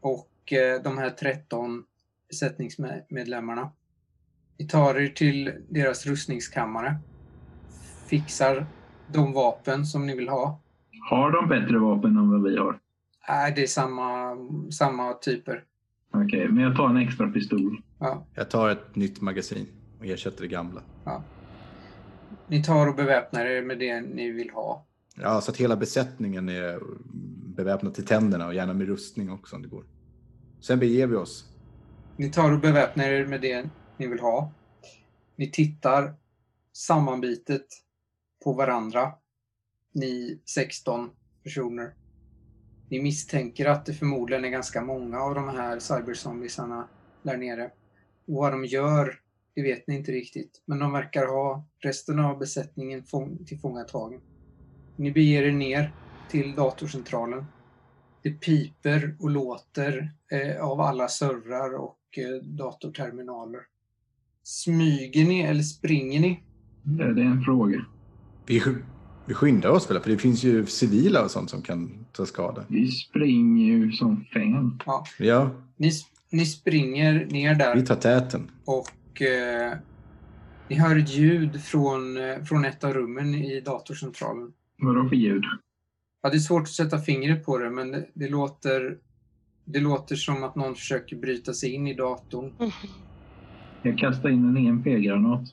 Speaker 4: och eh, de här 13 besättningsmedlemmarna. Ni tar er till deras rustningskammare. Fixar de vapen som ni vill ha.
Speaker 3: Har de bättre vapen än vad vi har?
Speaker 4: Äh, det är samma, samma typer.
Speaker 3: Okej, men jag tar en extra pistol.
Speaker 4: Ja.
Speaker 1: Jag tar ett nytt magasin och ersätter det gamla.
Speaker 4: Ni tar och beväpnar er med det ni vill ha.
Speaker 1: Ja, så att hela besättningen är beväpnad till tänderna och gärna med rustning också om det går. Sen beger vi oss.
Speaker 4: Ni tar och beväpnar er med det ni vill ha. Ni tittar sammanbitet på varandra. Ni 16 personer. Ni misstänker att det förmodligen är ganska många av de här cyberzombiesarna där nere. Och vad de gör, det vet ni inte riktigt. Men de verkar ha resten av besättningen fång- tillfångatagen. Ni beger er ner till datorcentralen. Det piper och låter eh, av alla servrar och eh, datorterminaler. Smyger ni eller springer ni?
Speaker 3: Eh, Det är en fråga.
Speaker 1: Vi, sk- vi skyndar oss väl, för det finns ju civila och sånt som kan ta skada.
Speaker 3: Vi springer ju som fan.
Speaker 1: Ja,
Speaker 4: Ni, s- ni springer ner där.
Speaker 1: vi tar täten.
Speaker 4: och eh, ni hör ett ljud från, eh, från ett av rummen i datorcentralen.
Speaker 3: Vadå för ljud?
Speaker 4: Ja, det är svårt att sätta fingret på det, men det, det, låter, det låter som att någon försöker bryta sig in i datorn.
Speaker 3: Jag kastar in en E EMP-granat.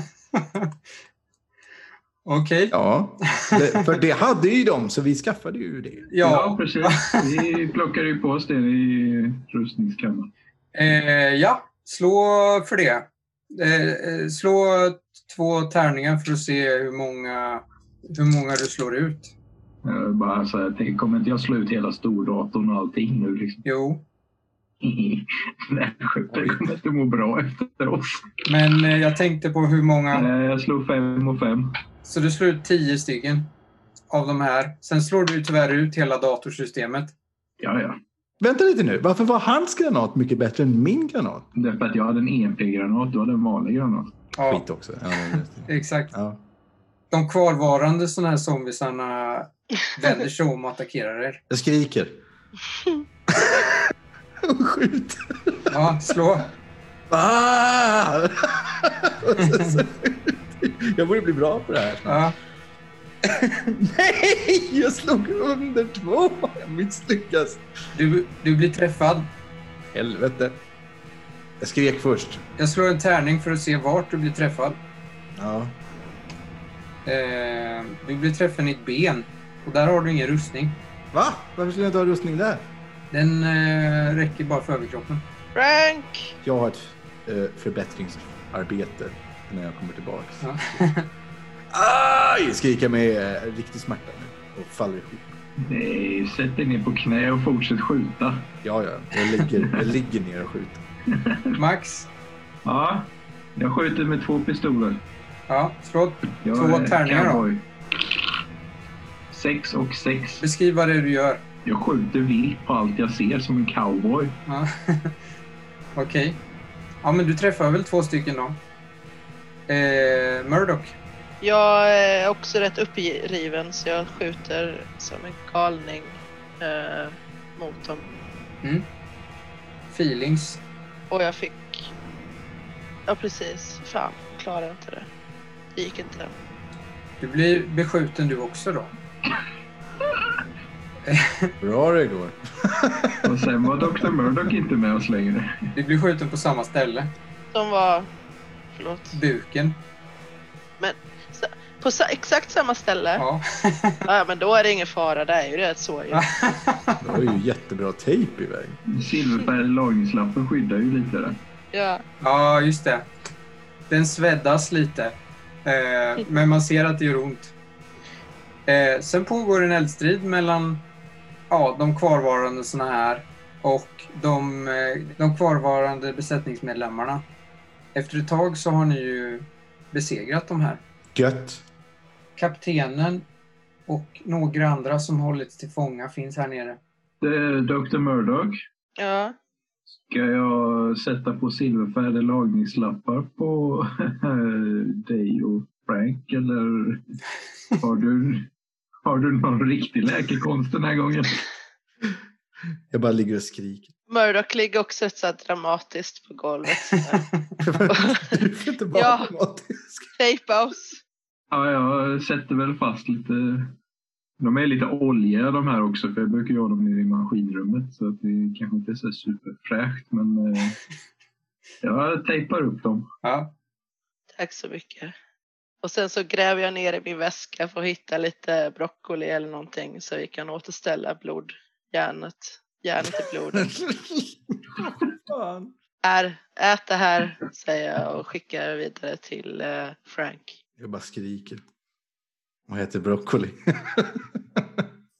Speaker 4: Okej.
Speaker 1: Ja, det, för det hade ju de, så vi skaffade ju det.
Speaker 4: Ja.
Speaker 3: precis. Vi plockade ju på oss det i rustningskammaren.
Speaker 4: Eh, ja, slå för det. Eh, eh, slå två tärningar för att se hur många, hur många du slår ut.
Speaker 3: Jag bara så här, tänk, kommer inte jag slå ut hela stordatorn och allting nu liksom?
Speaker 4: Jo,
Speaker 3: Mm. Det här skeppet kommer inte må bra efter oss.
Speaker 4: men eh, jag tänkte på hur många...
Speaker 3: Eh, Jag slog fem och fem.
Speaker 4: Så du slår ut 10 stycken av de här. Sen slår du ju tyvärr ut hela datorsystemet.
Speaker 3: Ja, ja.
Speaker 1: Vänta lite nu, varför var hans granat mycket bättre än min granat?
Speaker 3: Därför att jag hade en EMP-granat, du hade en vanlig granat.
Speaker 4: Ja,
Speaker 1: Skit också. Ja, det är just det.
Speaker 4: exakt.
Speaker 1: ja.
Speaker 4: De kvarvarande sådana här zombiesarna vänder sig om och attackerar er.
Speaker 1: Jag skriker. Och skjuter.
Speaker 4: Ja, slå.
Speaker 1: Ah! Och så- så- Jag borde bli bra på det här.
Speaker 4: Ja,
Speaker 1: Nej, jag slog under två. Jag misslyckas.
Speaker 4: du, du blir träffad.
Speaker 1: Helvete. Jag skrek först.
Speaker 4: Jag slår en tärning för att se vart du blir träffad.
Speaker 1: Ja.
Speaker 4: Eh, du blir träffad i ett ben och där har du ingen rustning.
Speaker 1: Va? Varför skulle jag inte ha rustning där?
Speaker 4: Den eh, räcker bara för överkroppen.
Speaker 2: Frank!
Speaker 1: Jag har ett eh, förbättringsarbete när jag kommer tillbaks.
Speaker 4: Ja.
Speaker 1: Aj! Skriker jag med eh, riktig smärta nu och faller ihop.
Speaker 3: Nej, sätt dig ner på knä och fortsätt skjuta.
Speaker 1: Ja, ja. Jag ligger, jag ligger ner och skjuter.
Speaker 4: Max,
Speaker 3: Ja, jag skjuter med två pistoler.
Speaker 4: ja, slå
Speaker 3: Jag
Speaker 4: Två
Speaker 3: är
Speaker 4: tärningar då.
Speaker 3: cowboy. Sex och sex.
Speaker 4: Beskriv vad det är du gör.
Speaker 3: Jag skjuter vilt på allt jag ser som en cowboy.
Speaker 4: Ja. Okej. Ja, men du träffar väl två stycken då? Eh, Murdoch.
Speaker 2: Jag är också rätt uppriven så jag skjuter som en galning eh, mot dem.
Speaker 4: Feelings.
Speaker 2: Och jag fick... Ja precis, fan, klarade inte det. Det gick inte.
Speaker 4: Du blir beskjuten du också då.
Speaker 1: Bra det går.
Speaker 3: Och sen var Dr. Murdoch inte med oss längre.
Speaker 4: Du blir skjuten på samma ställe.
Speaker 2: De var... Förlåt.
Speaker 4: Buken.
Speaker 2: På sa- exakt samma ställe? Ja.
Speaker 4: Ja.
Speaker 2: men då är det ingen fara, det är ju rätt så ju.
Speaker 1: Det var ju jättebra tejp i vägen.
Speaker 3: Silverfärgade lagringslappen skyddar ju lite där.
Speaker 2: Ja.
Speaker 4: ja, just det. Den sveddas lite. Eh, men man ser att det gör ont. Eh, sen pågår en eldstrid mellan ja, de kvarvarande såna här och de, eh, de kvarvarande besättningsmedlemmarna. Efter ett tag så har ni ju besegrat de här.
Speaker 1: Gött.
Speaker 4: Kaptenen och några andra som hållits till fånga finns här nere.
Speaker 3: Det- Dr. Murdoch,
Speaker 2: Ja.
Speaker 3: ska jag sätta på silverfärgade lagringslappar på dig och Frank eller har du, har du någon riktig läkekonst den här gången?
Speaker 1: Jag bara ligger och skriker.
Speaker 2: Murdoch ligger också så här dramatiskt på golvet. sådär.
Speaker 1: Du får inte vara
Speaker 2: Ja.
Speaker 1: dramatisk.
Speaker 2: Tejpa oss.
Speaker 3: Ja, jag sätter väl fast lite. De är lite oljiga de här också, för jag brukar ju ha dem nere i maskinrummet. Så att det kanske inte är så superfräscht, men eh, jag tejpar upp dem.
Speaker 4: Ja.
Speaker 2: Tack så mycket. Och sen så gräver jag ner i min väska för att hitta lite broccoli eller någonting så vi kan återställa blodjärnet. Järnet i blodet.
Speaker 1: Fan.
Speaker 2: Är, ät det här, säger jag och skickar vidare till eh, Frank.
Speaker 1: Jag bara skriker. Och äter broccoli.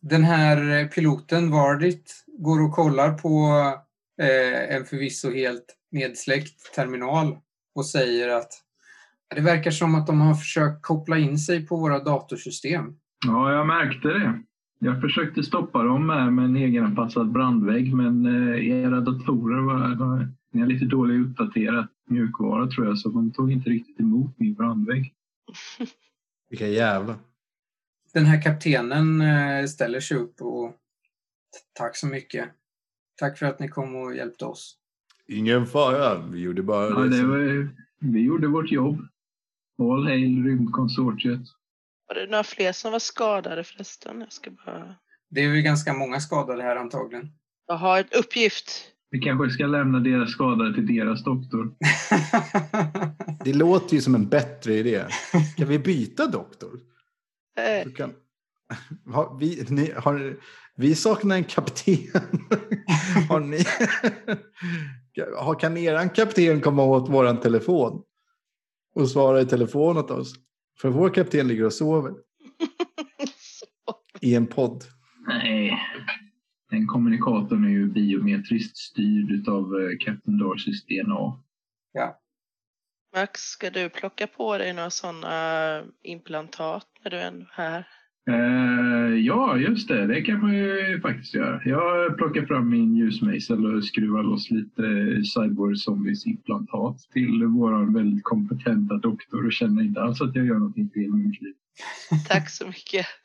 Speaker 4: Den här eh, piloten, Vardit, går och kollar på eh, en förvisso helt nedsläckt terminal och säger att det verkar som att de har försökt koppla in sig på våra datorsystem.
Speaker 3: Ja, jag märkte det. Jag försökte stoppa dem med, med en egenanpassad brandvägg, men eh, era datorer var, var ni har lite dåligt uppdaterat mjukvara tror jag, så de tog inte riktigt emot min brandvägg.
Speaker 1: Vilka jävla.
Speaker 4: Den här kaptenen eh, ställer sig upp och tack så mycket. Tack för att ni kom och hjälpte oss.
Speaker 1: Ingen fara, vi gjorde bara liksom-
Speaker 3: Ja, det var, vi gjorde vårt jobb. All hail rymdkonsortiet.
Speaker 2: Var det några fler som var skadade förresten? Jag ska bara...
Speaker 4: Det är ju ganska många skadade här antagligen.
Speaker 2: Jag har en uppgift.
Speaker 3: Vi kanske ska lämna deras skadade till deras doktor.
Speaker 1: Det låter ju som en bättre idé. Ska vi byta doktor?
Speaker 2: Eh,
Speaker 1: Du kan... har vi, ni, har, vi saknar en kapten. har ni... har, kan eran kapten komma åt våran telefon? Och svara i telefon åt oss? För vår kapten ligger och sover. I en podd.
Speaker 3: Nej. Den kommunikatorn är ju biometriskt styrd utav eh, Captain Darcys DNA.
Speaker 2: Max, ska du plocka på dig några sådana eh, implantat när du ändå är här?
Speaker 3: Eh, ja, just det. Det kan man ju faktiskt göra. Jag plockar fram min ljusmejsel och skruvar loss lite cyborg zombies implantat till vår väldigt kompetenta doktor och känner inte alls att jag gör någonting fel med mitt liv.
Speaker 2: Tack så mycket.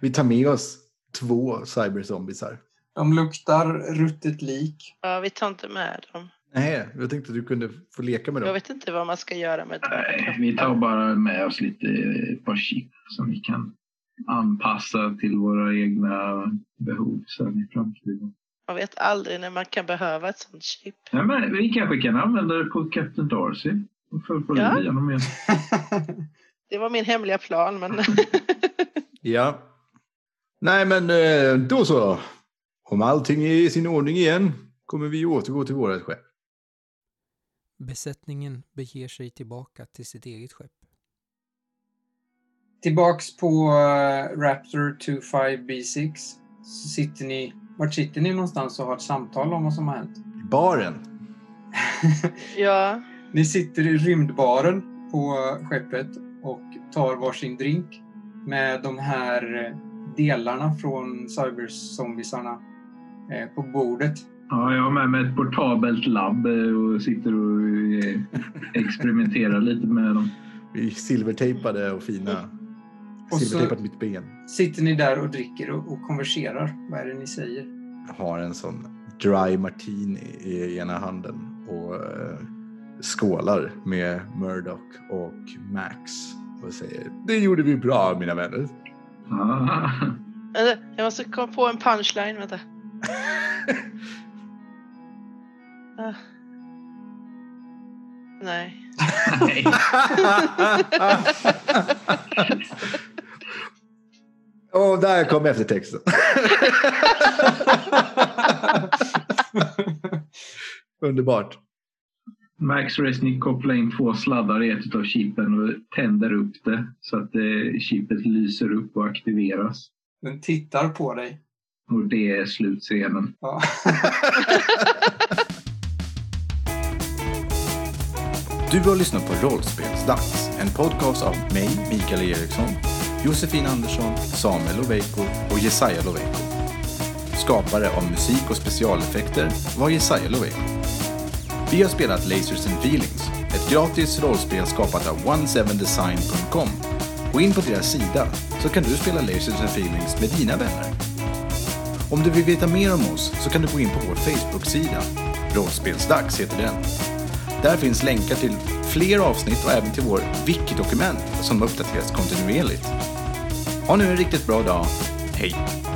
Speaker 1: Vi tar med oss två cyberzombisar.
Speaker 4: De luktar ruttet lik.
Speaker 2: ja, vi tar inte med dem.
Speaker 1: Nej, jag tänkte att du kunde få leka med
Speaker 2: Jag
Speaker 1: dem.
Speaker 2: vet inte vad man ska göra med dem.
Speaker 3: Nej, vi tar bara med oss lite eh, ett par chip som vi kan anpassa till våra egna behov sen i framtiden.
Speaker 2: Man vet aldrig när man kan behöva ett sånt chip.
Speaker 3: Nej, men vi kanske kan använda det på Captain Darcy och få få
Speaker 2: Ja.
Speaker 3: liv i honom igen.
Speaker 2: Det var min hemliga plan, men
Speaker 1: Ja. Nej, men eh, då så. Om allting är i sin ordning igen kommer vi återgå till vårt skepp.
Speaker 7: Besättningen beger sig tillbaka till sitt eget skepp.
Speaker 4: Tillbaks på eh, Raptor 25B6 så sitter ni, vart sitter ni någonstans och har ett samtal om vad som har hänt?
Speaker 1: I baren.
Speaker 2: ja.
Speaker 4: Ni sitter i rymdbaren på eh, skeppet och tar varsin drink med de här eh, delarna från cyberzombisarna eh, på bordet.
Speaker 3: Ja, jag har med mig ett portabelt labb eh, och sitter och eh, experimenterar lite med dem.
Speaker 1: Vi är silvertejpade och fina.
Speaker 4: Och så-
Speaker 1: Silvertejpat mitt ben.
Speaker 4: Sitter ni där och dricker och, och konverserar? Vad är det ni säger?
Speaker 1: Har en sån dry martini i ena handen och eh, skålar med Murdoch och Max och säger det gjorde vi bra mina vänner.
Speaker 3: Ah,
Speaker 2: Vänta, Jag måste komma på en punchline, vänta. Ah. Nej.
Speaker 3: nej.
Speaker 1: och där kom eftertexten. Underbart.
Speaker 3: Max Resnick kopplar in två sladdar i ett av chipen och tänder upp det så att eh, chipet lyser upp och aktiveras.
Speaker 4: Den tittar på dig.
Speaker 3: Och det är slutscenen.
Speaker 4: Ja.
Speaker 1: Du har lyssnat på Rollspelsdags, en podcast av mig, Mikael Eriksson, Josefin Andersson, Samuel Loveiko och Jesaja Loveiko. Skapare av musik och specialeffekter var Jesaja Loveiko. Vi har spelat Lasers and Feelings, ett gratis rollspel skapat av 17design.com. Gå in på deras sida så kan du spela Lasers and Feelings med dina vänner. Om du vill veta mer om oss så kan du gå in på vår Facebook-sida. Rollspelsdags heter den. Där finns länkar till fler avsnitt och även till vår wiki-dokument som uppdateras kontinuerligt. Ha nu en riktigt bra dag. Hej!